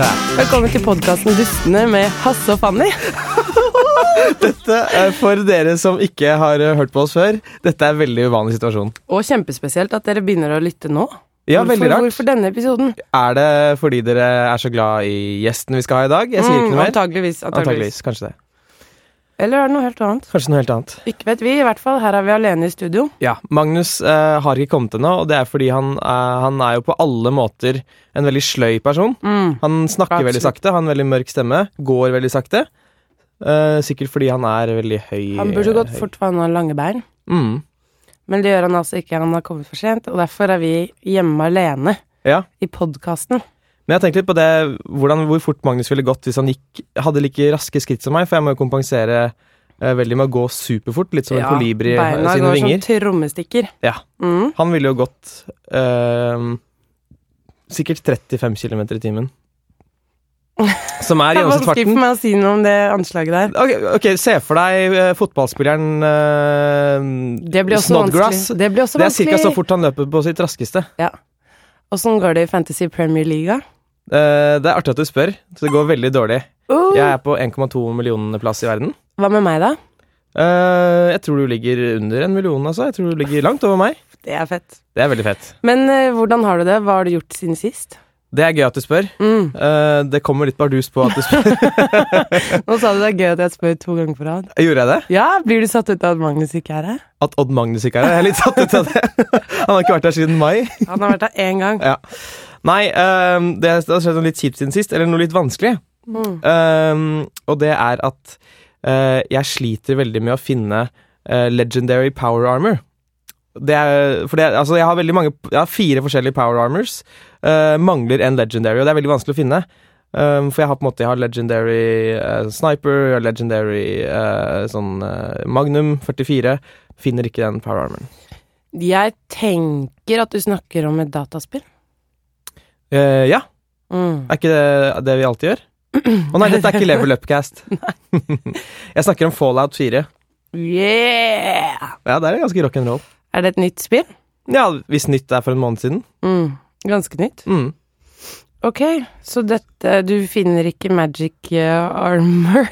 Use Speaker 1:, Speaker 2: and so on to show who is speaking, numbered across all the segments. Speaker 1: Velkommen til podkasten Dustene med Hasse og Fanny.
Speaker 2: Dette er For dere som ikke har eh, hørt på oss før, dette er en veldig uvanlig situasjon.
Speaker 1: Og kjempespesielt at dere begynner å lytte nå.
Speaker 2: Ja,
Speaker 1: hvorfor,
Speaker 2: veldig rart.
Speaker 1: Hvorfor denne episoden?
Speaker 2: Er det fordi dere er så glad i gjesten vi skal ha i dag? Jeg sier ikke noe mer.
Speaker 1: Mm, Antageligvis, antageligvis.
Speaker 2: Antageligvis. Kanskje det.
Speaker 1: Eller er det noe helt annet?
Speaker 2: Kanskje noe helt annet.
Speaker 1: Ikke vet vi, i hvert fall. Her er vi alene i studio.
Speaker 2: Ja, Magnus eh, har ikke kommet ennå, og det er fordi han, eh, han er jo på alle måter en veldig sløy person.
Speaker 1: Mm.
Speaker 2: Han snakker
Speaker 1: Absolutt.
Speaker 2: veldig sakte, har en veldig mørk stemme, går veldig sakte. Eh, sikkert fordi han er veldig høy.
Speaker 1: Han burde gått
Speaker 2: høy.
Speaker 1: fort, for han har lange bein.
Speaker 2: Mm.
Speaker 1: Men det gjør han altså ikke. Han har kommet for sent, og derfor er vi hjemme alene
Speaker 2: Ja.
Speaker 1: i podkasten.
Speaker 2: Men jeg tenkte litt på det, hvordan, hvor fort Magnus ville gått hvis han gikk, hadde like raske skritt som meg, for jeg må jo kompensere eh, veldig med å gå superfort, litt som en kolibri eh,
Speaker 1: beina
Speaker 2: sine
Speaker 1: går
Speaker 2: vinger.
Speaker 1: som trommestikker.
Speaker 2: Ja.
Speaker 1: Mm.
Speaker 2: Han ville jo gått eh, sikkert 35 km i timen. Som er
Speaker 1: Det er vanskelig for
Speaker 2: gjennomsnittsfarten.
Speaker 1: meg å si noe om det anslaget der.
Speaker 2: Ok, ok, se for deg eh, fotballspilleren eh,
Speaker 1: Det blir også
Speaker 2: Snodgrass.
Speaker 1: vanskelig. Det blir også
Speaker 2: Det er
Speaker 1: vanskelig.
Speaker 2: ca. så fort han løper på sitt raskeste.
Speaker 1: Åssen går det i Fantasy Premier League?
Speaker 2: Eh, det er artig at du spør, så det går veldig dårlig.
Speaker 1: Oh,
Speaker 2: Jeg er på 1,2 millioner plass i verden.
Speaker 1: Hva med meg, da?
Speaker 2: Eh, jeg tror du ligger under en million, altså. Jeg tror du ligger langt over meg.
Speaker 1: Det er fett.
Speaker 2: Det er veldig fett.
Speaker 1: Men eh, hvordan har du det? Hva har du gjort siden sist?
Speaker 2: Det er gøy at du spør.
Speaker 1: Mm.
Speaker 2: Eh, det kommer litt bardus på at du spør.
Speaker 1: Nå sa du det er gøy at jeg spør to ganger på rad.
Speaker 2: Gjorde jeg det?
Speaker 1: Ja, blir du satt ut av at Magnus ikke er her?
Speaker 2: At Odd Magnus ikke er her? Jeg er litt satt ut av det. Han har ikke vært her siden mai.
Speaker 1: Han har vært her én gang.
Speaker 2: Nei, eh, det har skjedd noe litt kjipt siden sist, eller noe litt vanskelig.
Speaker 1: Mm.
Speaker 2: Eh, og det er at eh, jeg sliter veldig med å finne eh, legendary power armor. Det er, for det, er- altså jeg har veldig mange Jeg har fire forskjellige power armors. eh, mangler en legendary, og det er veldig vanskelig å finne. Um, for jeg har på en måte Jeg har legendary eh, sniper, jeg har legendary eh, sånn eh, Magnum 44. Finner ikke den power armoren.
Speaker 1: Jeg tenker at du snakker om et dataspill.
Speaker 2: Eh, ja,
Speaker 1: Mm.
Speaker 2: er ikke det det vi alltid gjør? Å nei, dette er ikke Level Upcast. jeg snakker om Fallout 4.
Speaker 1: Yeah!
Speaker 2: Ja, det er ganske rock'n'roll.
Speaker 1: Er det et nytt spill?
Speaker 2: Ja, hvis nytt er for en måned siden.
Speaker 1: Mm. Ganske nytt.
Speaker 2: Mm.
Speaker 1: Ok, så dette Du finner ikke magic eh, armor?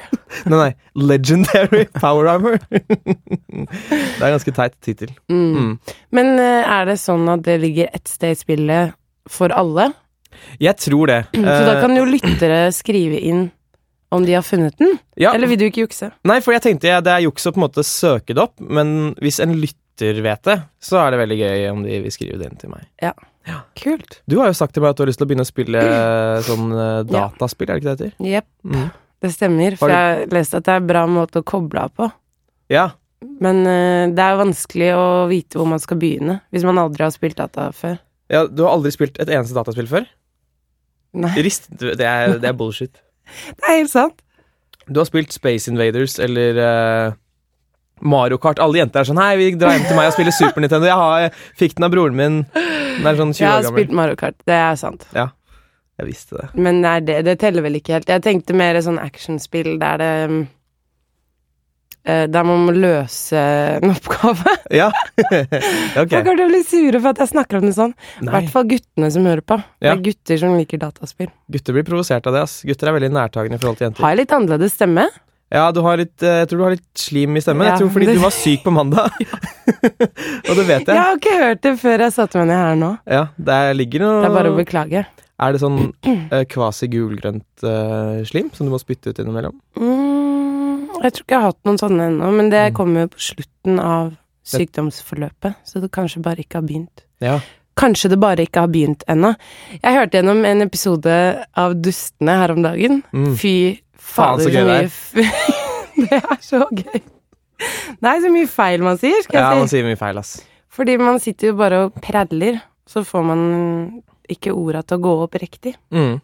Speaker 2: Nei, nei. Legendary Power Armor. det er ganske teit tittel.
Speaker 1: Mm.
Speaker 2: Mm.
Speaker 1: Men eh, er det sånn at det ligger ett sted i spillet for alle?
Speaker 2: Jeg tror det.
Speaker 1: Så da
Speaker 2: Eh,
Speaker 1: kan jo lyttere skrive inn om de har funnet den?
Speaker 2: ja.
Speaker 1: Eller vil du ikke jukse?
Speaker 2: Nei, for jeg tenkte jeg, det er juks å på en måte søke det opp, men hvis en lytter vet det, så er det veldig gøy om de vil skrive det inn til meg.
Speaker 1: Kult.
Speaker 2: Du har jo sagt til meg at du har lyst til å begynne å spille eh, sånn eh,
Speaker 1: Ja.
Speaker 2: dataspill, er det ikke det det heter?
Speaker 1: Jepp,
Speaker 2: Mm.
Speaker 1: det stemmer. For
Speaker 2: Har
Speaker 1: jeg har lest at det er en bra måte å koble av på.
Speaker 2: Ja.
Speaker 1: Men eh, det er vanskelig å vite hvor man skal begynne hvis man aldri har spilt data før.
Speaker 2: ja. Du har aldri spilt et eneste dataspill før?
Speaker 1: Nei,
Speaker 2: Rist, du- det, er, det er bullshit.
Speaker 1: det er helt sant.
Speaker 2: Du har spilt Space Invaders eller eh, Mario Kart. Alle jenter er sånn Hei, vi drar hjem til meg og spiller Super Nintendo. Jeg, har, jeg fikk den av broren min. Den er sånn 20
Speaker 1: Jeg har
Speaker 2: år gammel.
Speaker 1: spilt Mario Kart, det er sant.
Speaker 2: Jeg visste det.
Speaker 1: Men nei, det, det teller vel ikke helt. Jeg tenkte mer sånn actionspill der det mm, eh, Der man må løse en oppgave.
Speaker 2: Ja. ok.
Speaker 1: Folk kommer til å bli sure for at jeg snakker om det sånn. I
Speaker 2: Nei,
Speaker 1: hvert fall guttene som hører på. Det
Speaker 2: Ja.
Speaker 1: er gutter som liker dataspill.
Speaker 2: gutter blir provosert av det. ass. Gutter er veldig nærtagende i forhold til jenter.
Speaker 1: Har jeg litt annerledes stemme?
Speaker 2: Ja, du har litt, eh, Jeg tror du har litt slim i stemmen.
Speaker 1: Ja,
Speaker 2: Jeg tror fordi
Speaker 1: det-
Speaker 2: du var syk på mandag. og det vet
Speaker 1: Jeg
Speaker 2: jeg.
Speaker 1: har ikke hørt det før jeg satte meg ned her nå.
Speaker 2: Ja, Der ligger noe
Speaker 1: Det er bare å beklage.
Speaker 2: Er det sånn eh, kvasi-gulgrønt eh, slim som du må spytte ut innimellom?
Speaker 1: Mm, jeg tror ikke jeg har hatt noen sånne ennå, men
Speaker 2: Mm.
Speaker 1: det kommer jo på slutten av sykdomsforløpet, så det kanskje bare ikke har begynt.
Speaker 2: Ja.
Speaker 1: Kanskje det bare ikke har begynt ennå. Jeg hørte gjennom en episode av Dustene her om dagen.
Speaker 2: Mm.
Speaker 1: Fy
Speaker 2: Faen,
Speaker 1: fader,
Speaker 2: så
Speaker 1: så
Speaker 2: gøy det
Speaker 1: mye
Speaker 2: er.
Speaker 1: f- Det er så gøy. Det er så mye feil man sier, skal
Speaker 2: ja,
Speaker 1: jeg si.
Speaker 2: man sier mye feil, ass.
Speaker 1: Fordi man sitter jo bare og predler, så får man ikke orda til å gå opp riktig.
Speaker 2: Mm.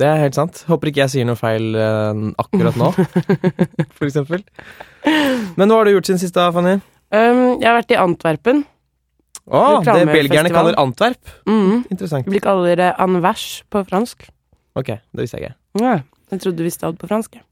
Speaker 2: Det er helt sant. Håper ikke jeg sier noe feil eh, akkurat nå, for eksempel. Men hva har du gjort siden sist, da, Fanny?
Speaker 1: Um, jeg har vært i Antwerpen.
Speaker 2: Å, det
Speaker 1: Reklamefestival.
Speaker 2: belgierne kaller Antwerp.
Speaker 1: Mm.
Speaker 2: Interessant.
Speaker 1: Vi kaller det anvers på fransk.
Speaker 2: Ok, det visste jeg ikke.
Speaker 1: Ja. Jeg trodde vi stod på fransk. jeg.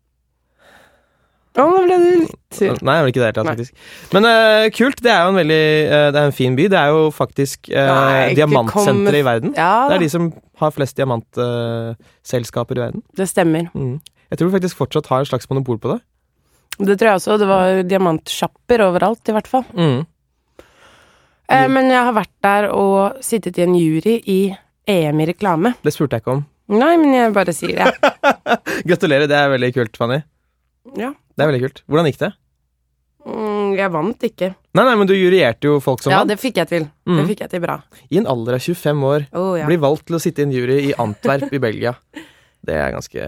Speaker 1: Å, nå ble du litt sur.
Speaker 2: Nei, jeg var ikke det helt tatt, faktisk. Men eh, kult. Det er jo en veldig eh, Det er en fin by. Det er jo faktisk eh,
Speaker 1: Nei, ikke kom med-
Speaker 2: diamantsenteret i verden.
Speaker 1: Ja,
Speaker 2: Det er de som Har flest diamantselskaper i verden.
Speaker 1: Det stemmer.
Speaker 2: Mm. Jeg tror vi faktisk fortsatt har et slags monopol på det.
Speaker 1: Det tror jeg også. Det var diamantsjapper overalt, i hvert fall.
Speaker 2: Mm.
Speaker 1: Eh,
Speaker 2: Mm.
Speaker 1: men jeg har vært der og sittet i en jury i EM i reklame.
Speaker 2: Det spurte jeg ikke om.
Speaker 1: Nei, men jeg bare sier det.
Speaker 2: Gratulerer, det er veldig kult, Fanny.
Speaker 1: Ja.
Speaker 2: Det er veldig kult. Hvordan gikk det?
Speaker 1: Mm, jeg vant ikke.
Speaker 2: Nei, nei, men du jurierte jo folk som
Speaker 1: Ja,
Speaker 2: vant.
Speaker 1: det fikk jeg til. Det
Speaker 2: Mm.
Speaker 1: fikk jeg til bra.
Speaker 2: I en alder av 25 år
Speaker 1: Oh, ja.
Speaker 2: blir valgt til å sitte i en jury i Antwerp i Belgia. Det er ganske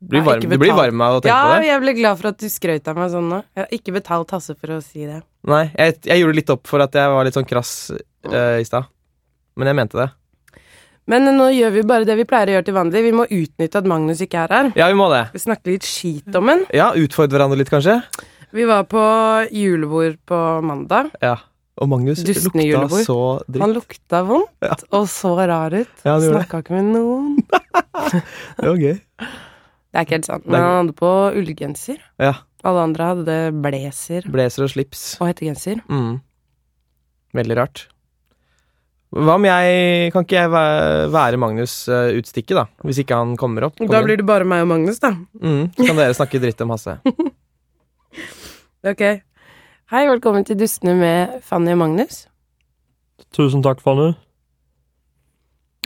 Speaker 2: Du blir
Speaker 1: Ja,
Speaker 2: varm,
Speaker 1: ikke
Speaker 2: du blir
Speaker 1: betalt.
Speaker 2: varm av å tenke
Speaker 1: Ja,
Speaker 2: på det.
Speaker 1: jeg ble glad for at du skrøt av meg sånn nå. Jeg har ikke betalt Hasse for å si det.
Speaker 2: Nei, jeg, jeg gjorde litt opp for at jeg var litt sånn krass eh, i stad. Men jeg mente det.
Speaker 1: Men nå gjør vi bare det vi pleier å gjøre til vanlig. Vi må utnytte at Magnus ikke er her.
Speaker 2: Ja, vi må det.
Speaker 1: Vi snakker litt skit om han.
Speaker 2: Ja, Utfordre hverandre litt, kanskje.
Speaker 1: Vi var på julebord på mandag.
Speaker 2: Ja. Og Magnus
Speaker 1: Dustende
Speaker 2: lukta
Speaker 1: julebord.
Speaker 2: så dritt.
Speaker 1: Han lukta vondt
Speaker 2: Ja.
Speaker 1: og så rar ut.
Speaker 2: Ja, han gjorde det.
Speaker 1: Snakka ikke med noen.
Speaker 2: Det var gøy.
Speaker 1: Det er ikke helt sant.
Speaker 2: Det
Speaker 1: Men
Speaker 2: er
Speaker 1: han hadde på ullgenser.
Speaker 2: Ja.
Speaker 1: Alle andre hadde blazer
Speaker 2: Blazer og slips.
Speaker 1: og hettegenser.
Speaker 2: Mm. Veldig rart. Hva om jeg Kan ikke jeg væ- være Magnus eh, utstikke, da? Hvis ikke han kommer opp?
Speaker 1: Da blir det bare meg og Magnus, da.
Speaker 2: mm, så kan dere snakke dritt om Hasse.
Speaker 1: Ok. Hei, velkommen til Dustene med Fanny og Magnus.
Speaker 3: Tusen takk, Fanny.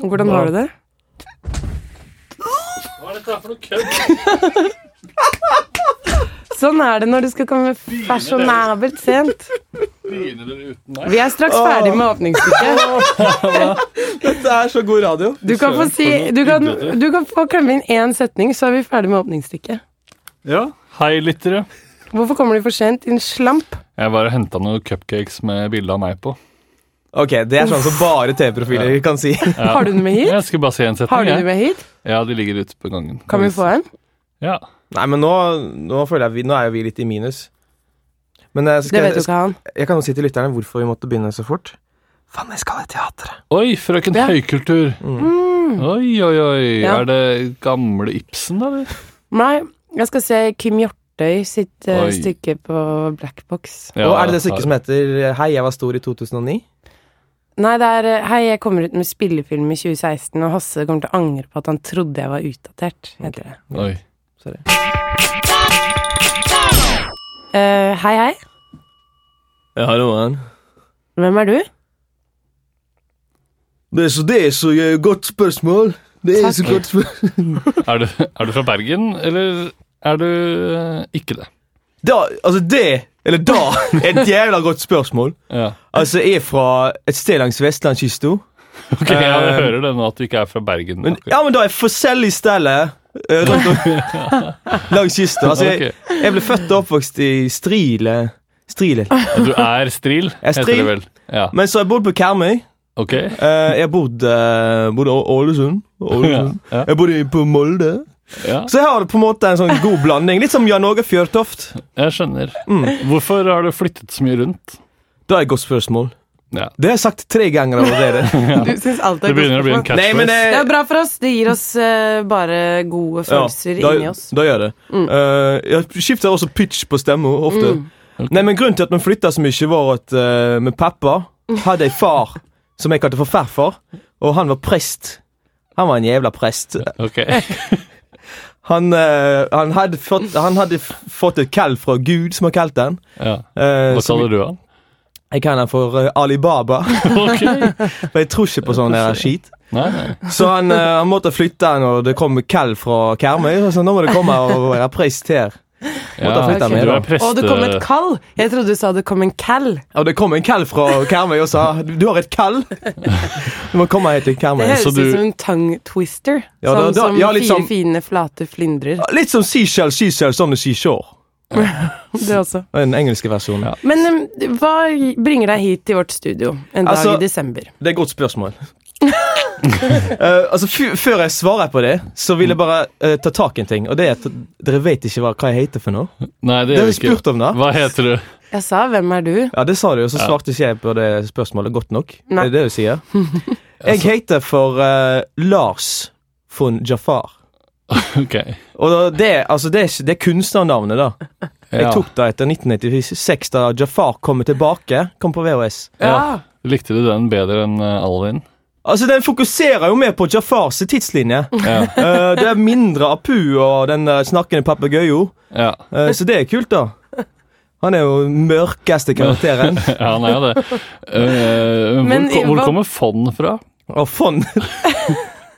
Speaker 1: Hvordan
Speaker 3: Bra.
Speaker 1: har du det?
Speaker 3: Hva er dette for noe kødd?
Speaker 1: Sånn er det når du skal komme fasjonabelt sent.
Speaker 3: Begynner dere uten meg?
Speaker 1: Vi er straks ferdig med åpningsstykket.
Speaker 2: Dette er så god radio.
Speaker 1: Du kan få, si, du kan, du kan få klemme inn én setning, så er vi ferdig med åpningsstykket.
Speaker 3: Ja. Hei, lyttere.
Speaker 1: Hvorfor kommer du for sent, din slamp?
Speaker 4: Jeg var og henta noen cupcakes med bilde av meg på.
Speaker 2: Ok, det er sånn som bare TV-profiler kan si.
Speaker 4: Ja.
Speaker 1: Har du den med hit?
Speaker 4: Jeg skulle bare se en
Speaker 1: Har
Speaker 4: setning.
Speaker 1: du den
Speaker 4: jeg.
Speaker 1: med hit?
Speaker 4: Ja, de ligger ute på gangen.
Speaker 1: Kan vi få en?
Speaker 4: Ja.
Speaker 2: Nei, men nå, nå føler jeg vi, Nå er jo vi litt i minus. Men jeg,
Speaker 1: Det
Speaker 2: skal,
Speaker 1: vet jo ikke han.
Speaker 2: jeg kan jo si til lytterne hvorfor vi måtte begynne så fort. Fanny skal i teatret.
Speaker 4: Oi, Frøken
Speaker 1: Ja.
Speaker 4: Høykultur!
Speaker 2: Mm.
Speaker 3: Mm.
Speaker 1: Mm.
Speaker 4: Oi, oi, oi.
Speaker 1: Ja.
Speaker 4: Er det gamle Ibsen, eller?
Speaker 1: Nei, jeg skal se Kim Hjortøy sitt eh,
Speaker 4: Oi.
Speaker 1: stykke på Black Box.
Speaker 2: Og er det det stykket som heter eh, Hei, jeg var stor i 2009?
Speaker 1: Nei, det er eh, Hei, jeg kommer ut med spillefilm i 2016, og Hasse kommer til å angre på at han trodde jeg var utdatert. heter det.
Speaker 4: Oi.
Speaker 2: Sorry.
Speaker 1: Eh, hei, hei.
Speaker 2: Ja, hallo, man.
Speaker 1: Hvem er du?
Speaker 2: Det er så, det er så eh, godt spørsmål. Det
Speaker 1: er så Takk. godt
Speaker 2: spørsmål.
Speaker 4: Er du, er du fra Bergen, eller er du eh, ikke det?
Speaker 2: Da, altså det, eller da, er et jævla godt spørsmål.
Speaker 4: Ja.
Speaker 2: Altså, jeg er fra et sted langs vestlandskysten.
Speaker 4: Ok, ja, Jeg
Speaker 2: Eh,
Speaker 4: hører det nå at du ikke er fra Bergen.
Speaker 2: Men,
Speaker 4: akkurat.
Speaker 2: ja, men da er forskjellige steder eh, rundt om langs kysten. Altså, jeg,
Speaker 4: Ok.
Speaker 2: jeg ble født og oppvokst i Strile. Strile.
Speaker 4: Du er stril,
Speaker 2: er
Speaker 4: heter
Speaker 2: stril.
Speaker 4: det vel. Ja,
Speaker 2: Men så har jeg bodd på Karmøy.
Speaker 4: ok.
Speaker 2: Eh, jeg har bodd eh, bodd i Å- Ålesund. Ålesund.
Speaker 4: Ja, ja.
Speaker 2: Jeg bodde i- på Molde.
Speaker 4: Ja,
Speaker 2: Så jeg har på en måte en sånn god blanding. Litt som Jan Åge Fjørtoft.
Speaker 4: jeg skjønner.
Speaker 2: Mm.
Speaker 4: Hvorfor har du flyttet så mye rundt?
Speaker 2: Det er et godt spørsmål.
Speaker 4: Ja.
Speaker 2: Det har jeg sagt tre ganger allerede.
Speaker 1: Du syns alt
Speaker 4: Det
Speaker 1: er
Speaker 4: begynner å bli en
Speaker 2: Nei, men
Speaker 4: catchphrase.
Speaker 2: eh,
Speaker 1: Det er bra for oss. Det gir oss eh, bare gode
Speaker 2: ja,
Speaker 1: følelser
Speaker 2: da-
Speaker 1: inni oss. Mm.
Speaker 2: Da gjør det. Eh, jeg skifter også pitch på stemma ofte. Nei, men Grunnen til at vi flytta så mye, var at eh, med pappa hadde jeg far som jeg kalte for farfar, og han var prest. Han var en jævla prest.
Speaker 4: Ok.
Speaker 2: Han, eh, han, hadde, fått, han hadde f- fått et kall fra Gud, som han kalte han.
Speaker 4: Ja.
Speaker 2: Eh,
Speaker 4: Hva
Speaker 2: som-
Speaker 4: kaller du han?
Speaker 2: jeg kaller han for eh, Alibaba,
Speaker 4: Ok.
Speaker 2: for jeg tror ikke på sånn der skit.
Speaker 4: Nei, nei.
Speaker 2: Så han, eh, han måtte flytte han, og det kom kall fra Karmøy. og Så nå må du komme og være prest her. Måtte ha flyttet
Speaker 1: ok. med,
Speaker 4: du
Speaker 2: da.
Speaker 4: er eh, preste...
Speaker 1: Å, det kom et kall! Jeg trodde du sa det kom en kall.
Speaker 2: Og det kom en kall fra Karmøy og sa du du har et kall. Du må komme hit til
Speaker 1: Det
Speaker 2: Karmøy.
Speaker 1: høres
Speaker 4: så
Speaker 1: ut
Speaker 4: du-
Speaker 1: som en tongue twister.
Speaker 2: Ja,
Speaker 1: sånn
Speaker 2: da- da-
Speaker 1: som
Speaker 2: ja, litt
Speaker 1: fire
Speaker 2: sånn-
Speaker 1: fine, flate flyndrer.
Speaker 2: Litt som Seashell, Seashell, sånn Seashore.
Speaker 1: Det også.
Speaker 2: Den engelske versjonen.
Speaker 4: Ja.
Speaker 1: Men em, hva bringer deg hit til vårt studio en dag
Speaker 2: Altså-
Speaker 1: i desember?
Speaker 2: Det er et godt spørsmål. Eh, altså, f Før jeg svarer på det, så vil jeg bare eh, ta tak i en ting. Og det er at dere vet ikke hva, hva jeg heter for noe.
Speaker 4: Nei,
Speaker 2: Dere
Speaker 4: det gjør
Speaker 2: har
Speaker 4: vi ikke.
Speaker 2: spurt om det.
Speaker 4: Hva heter du?
Speaker 1: Jeg sa 'Hvem er du?'
Speaker 2: Ja, det sa du, og så
Speaker 4: Ja.
Speaker 2: svarte ikke jeg på det spørsmålet godt nok.
Speaker 1: Nei.
Speaker 2: Er det det du sier? Jeg heter for eh, Lars von Jafar.
Speaker 4: Ok.
Speaker 2: Og da- det, altså, det, er ikke- det er kunstnernavnet, da. Jeg
Speaker 4: Ja.
Speaker 2: tok det etter 1996, da Jafar kommer tilbake. Kom på VHS.
Speaker 4: Ja. Likte du den bedre enn eh, Alvin?
Speaker 2: Altså, Den fokuserer jo mer på Jafars tidslinje.
Speaker 4: Ja.
Speaker 2: Eh, det er mindre Apu og den eh, snakkende papegøyen.
Speaker 4: Ja.
Speaker 2: Eh, så det er kult, da. Han er jo mørkeste karakteren.
Speaker 4: ja, han er jo det. Eh, hvor,
Speaker 1: Men i-
Speaker 4: ko- hvor
Speaker 1: hva-
Speaker 4: kommer fond fra?
Speaker 2: Å, faen!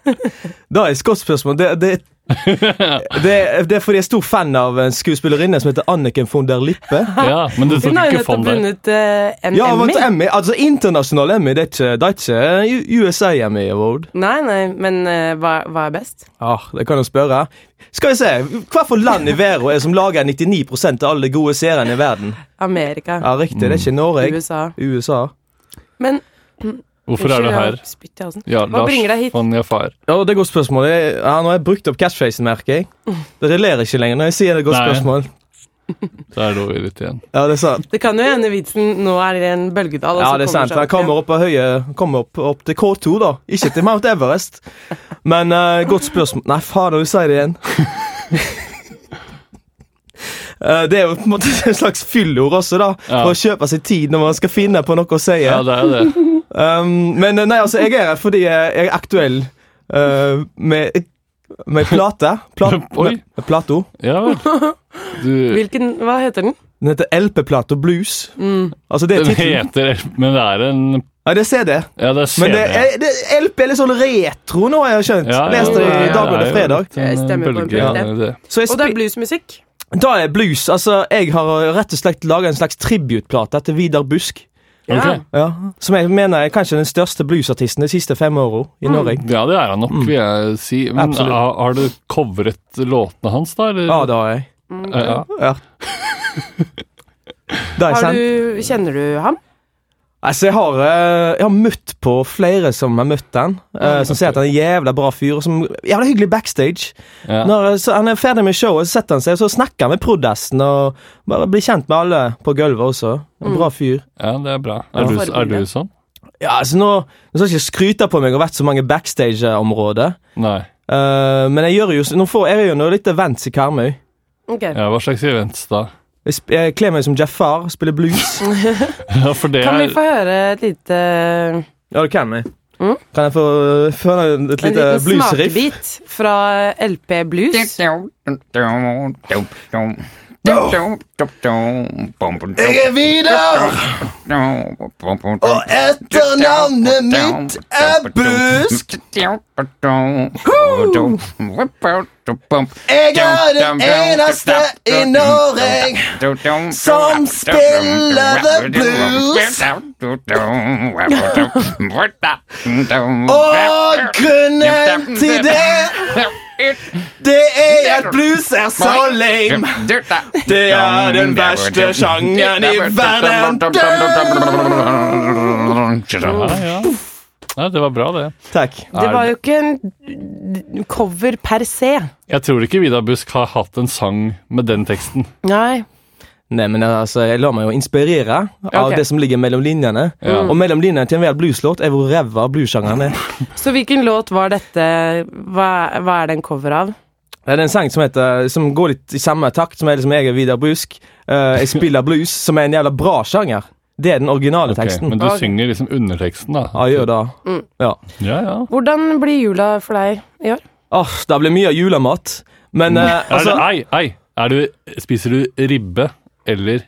Speaker 2: det er et godt spørsmål. Det, det, det, det er fordi jeg er stor fan av en skuespillerinne som heter Anniken von der Lippe.
Speaker 4: Ja, men du
Speaker 1: Hun
Speaker 4: tok
Speaker 1: har jo
Speaker 4: ikke
Speaker 1: nettopp
Speaker 4: fond der.
Speaker 1: vunnet eh, en
Speaker 2: Ja,
Speaker 1: Emmy.
Speaker 2: vant Emmy. Altså internasjonal Emmy. Det er ikke, det er ikke U- USA Emmy Award.
Speaker 1: Nei, nei, men eh, hva, hva er best?
Speaker 2: Ah, det kan du spørre. Skal vi se, Hvilket land i verden er det som lager 99 av alle de gode seriene i verden?
Speaker 1: Amerika.
Speaker 2: Ja, Riktig, det er ikke Norge.
Speaker 1: USA.
Speaker 2: USA.
Speaker 1: Men
Speaker 4: Hvorfor er du
Speaker 1: Unnskyld, jeg
Speaker 4: her?
Speaker 1: har spytt i halsen.
Speaker 4: Ja,
Speaker 1: Hva bringer deg hit?
Speaker 4: von Jafar.
Speaker 2: Ja, det er et godt spørsmål. Jeg, ja, nå har jeg brukt opp catchphrasen, merker jeg. Det relerer ikke lenger når jeg sier det er et godt
Speaker 4: Nei.
Speaker 2: spørsmål.
Speaker 4: Da er det over hit igjen.
Speaker 2: Ja, det er sant.
Speaker 1: Det kan jo hende vitsen nå er i en bølgedal. og
Speaker 2: Ja,
Speaker 1: så
Speaker 2: det er
Speaker 1: kommer
Speaker 2: sant.
Speaker 1: seg
Speaker 2: Han
Speaker 1: opp igjen.
Speaker 2: kommer opp, på høye, kommer opp, opp til K2, da. Ikke til Mount Everest. Men eh, godt spørsmål Nei, fader, du sier det igjen. Eh, det er jo på en måte en slags fyllord også, da.
Speaker 4: Ja.
Speaker 2: For å kjøpe seg tid når man skal finne på noe å si.
Speaker 4: Ja, det er det.
Speaker 2: Um, men eh, nei, altså, jeg er her fordi jeg jeg er aktuell eh, med, med plate. Pla
Speaker 4: Oi.
Speaker 2: med, med plato.
Speaker 4: Ja vel. Du
Speaker 1: Hvilken, Hva heter den?
Speaker 2: Den heter LP-plato Blues.
Speaker 1: Mm.
Speaker 2: Altså, det er
Speaker 4: Den
Speaker 2: tittelen.
Speaker 4: heter Men det er en
Speaker 2: Ja, det er CD.
Speaker 4: Ja, det er CD.
Speaker 2: Men det, er- det, LP er litt sånn retro nå, har jeg skjønt.
Speaker 4: Ja, ja,
Speaker 2: Leste det
Speaker 1: ja,
Speaker 2: i
Speaker 1: ja,
Speaker 2: Dagbladet
Speaker 4: det er jo
Speaker 2: fredag.
Speaker 4: litt en
Speaker 1: Jeg stemmer på en
Speaker 4: bølge,
Speaker 1: bølge.
Speaker 4: det.
Speaker 2: Så jeg
Speaker 1: Og det er
Speaker 2: spi-
Speaker 1: bluesmusikk.
Speaker 2: da er blues. Altså, jeg har rett og slett laga en slags tributeplate til Vidar Busk.
Speaker 1: Ja.
Speaker 4: Ok.
Speaker 2: Ja, som jeg mener er kanskje den største bluesartisten de siste fem åra
Speaker 1: Mm.
Speaker 2: i Norge.
Speaker 4: Ja, det er han nok, vil jeg si. Men
Speaker 2: Mm. Absolutt.
Speaker 4: har, har du covret låtene hans, da? Eller?
Speaker 2: Ja, det har jeg.
Speaker 4: Ja.
Speaker 2: Ja. Det er
Speaker 1: Har
Speaker 2: sant.
Speaker 1: du, kjenner du ham?
Speaker 2: Altså, jeg har, eh, jeg har møtt på flere som har møtt han, eh, som sier at han er en jævla bra fyr, og som jævla hyggelig backstage.
Speaker 4: Ja.
Speaker 2: Når eh, så han er ferdig med showet, så setter han seg og så snakker han med prodassen og bare blir kjent med alle på gulvet også. En
Speaker 1: Mm.
Speaker 2: bra fyr.
Speaker 4: ja, det er bra. Er, du, er du sånn?
Speaker 2: Ja, altså nå, nå skal jeg ikke skryte på meg og vært så mange backstage-områder,
Speaker 4: Nei.
Speaker 2: Eh, men jeg gjør jo, nå får jeg jo noe litt events i Karmøy.
Speaker 1: Ok.
Speaker 4: Ja, hva slags events, da?
Speaker 2: Jeg, sp jeg kler meg som Jafar, spiller blues.
Speaker 1: Mm.
Speaker 4: Ja, for det
Speaker 1: Kan vi
Speaker 4: er
Speaker 1: få høre et lite
Speaker 2: ja, det kan jeg.
Speaker 1: Mm.
Speaker 2: Kan jeg få føle et
Speaker 1: en
Speaker 2: lite
Speaker 1: liten
Speaker 2: bluesriff?
Speaker 1: smakebit fra LP Blues?
Speaker 5: Jeg er
Speaker 2: Vidar!
Speaker 5: Og etternavnet
Speaker 2: mitt er Busk.
Speaker 5: Jeg er den eneste i Norge som spiller the blues.
Speaker 2: Og
Speaker 5: Og
Speaker 2: grunnen til det, det er at blues er så lame. Det er den verste sjangeren i verden.
Speaker 4: ja, ja. Nei, det var bra, det.
Speaker 2: Takk.
Speaker 1: Det var jo ikke en cover per se.
Speaker 4: Jeg tror ikke Vidar Busk har hatt en sang med den teksten.
Speaker 1: Nei.
Speaker 2: Nei, men altså, jeg lar meg jo inspirere av
Speaker 1: Ok.
Speaker 2: det som ligger mellom linjene.
Speaker 4: Ja.
Speaker 2: Og mellom linjene til enhver blueslåt er hvor ræva bluessjangeren er.
Speaker 1: Så hvilken låt var dette? Hva, hva er det en cover av?
Speaker 2: Det er en sang som, heter, som går litt i samme takt, som er liksom jeg er Vidar Busk. eh, jeg spiller blues, som er en jævla bra sjanger. Det er den originale
Speaker 4: Ok,
Speaker 2: teksten.
Speaker 4: men du
Speaker 1: Ok.
Speaker 4: synger liksom underteksten, da.
Speaker 2: Ja, gjør det. Ja.
Speaker 4: Ja, ja.
Speaker 1: Hvordan blir jula for deg i år?
Speaker 2: Åh, det blir mye julemat. Men eh,
Speaker 4: Er Mm. det,
Speaker 2: altså
Speaker 4: ei, ei. Er du, spiser du ribbe eller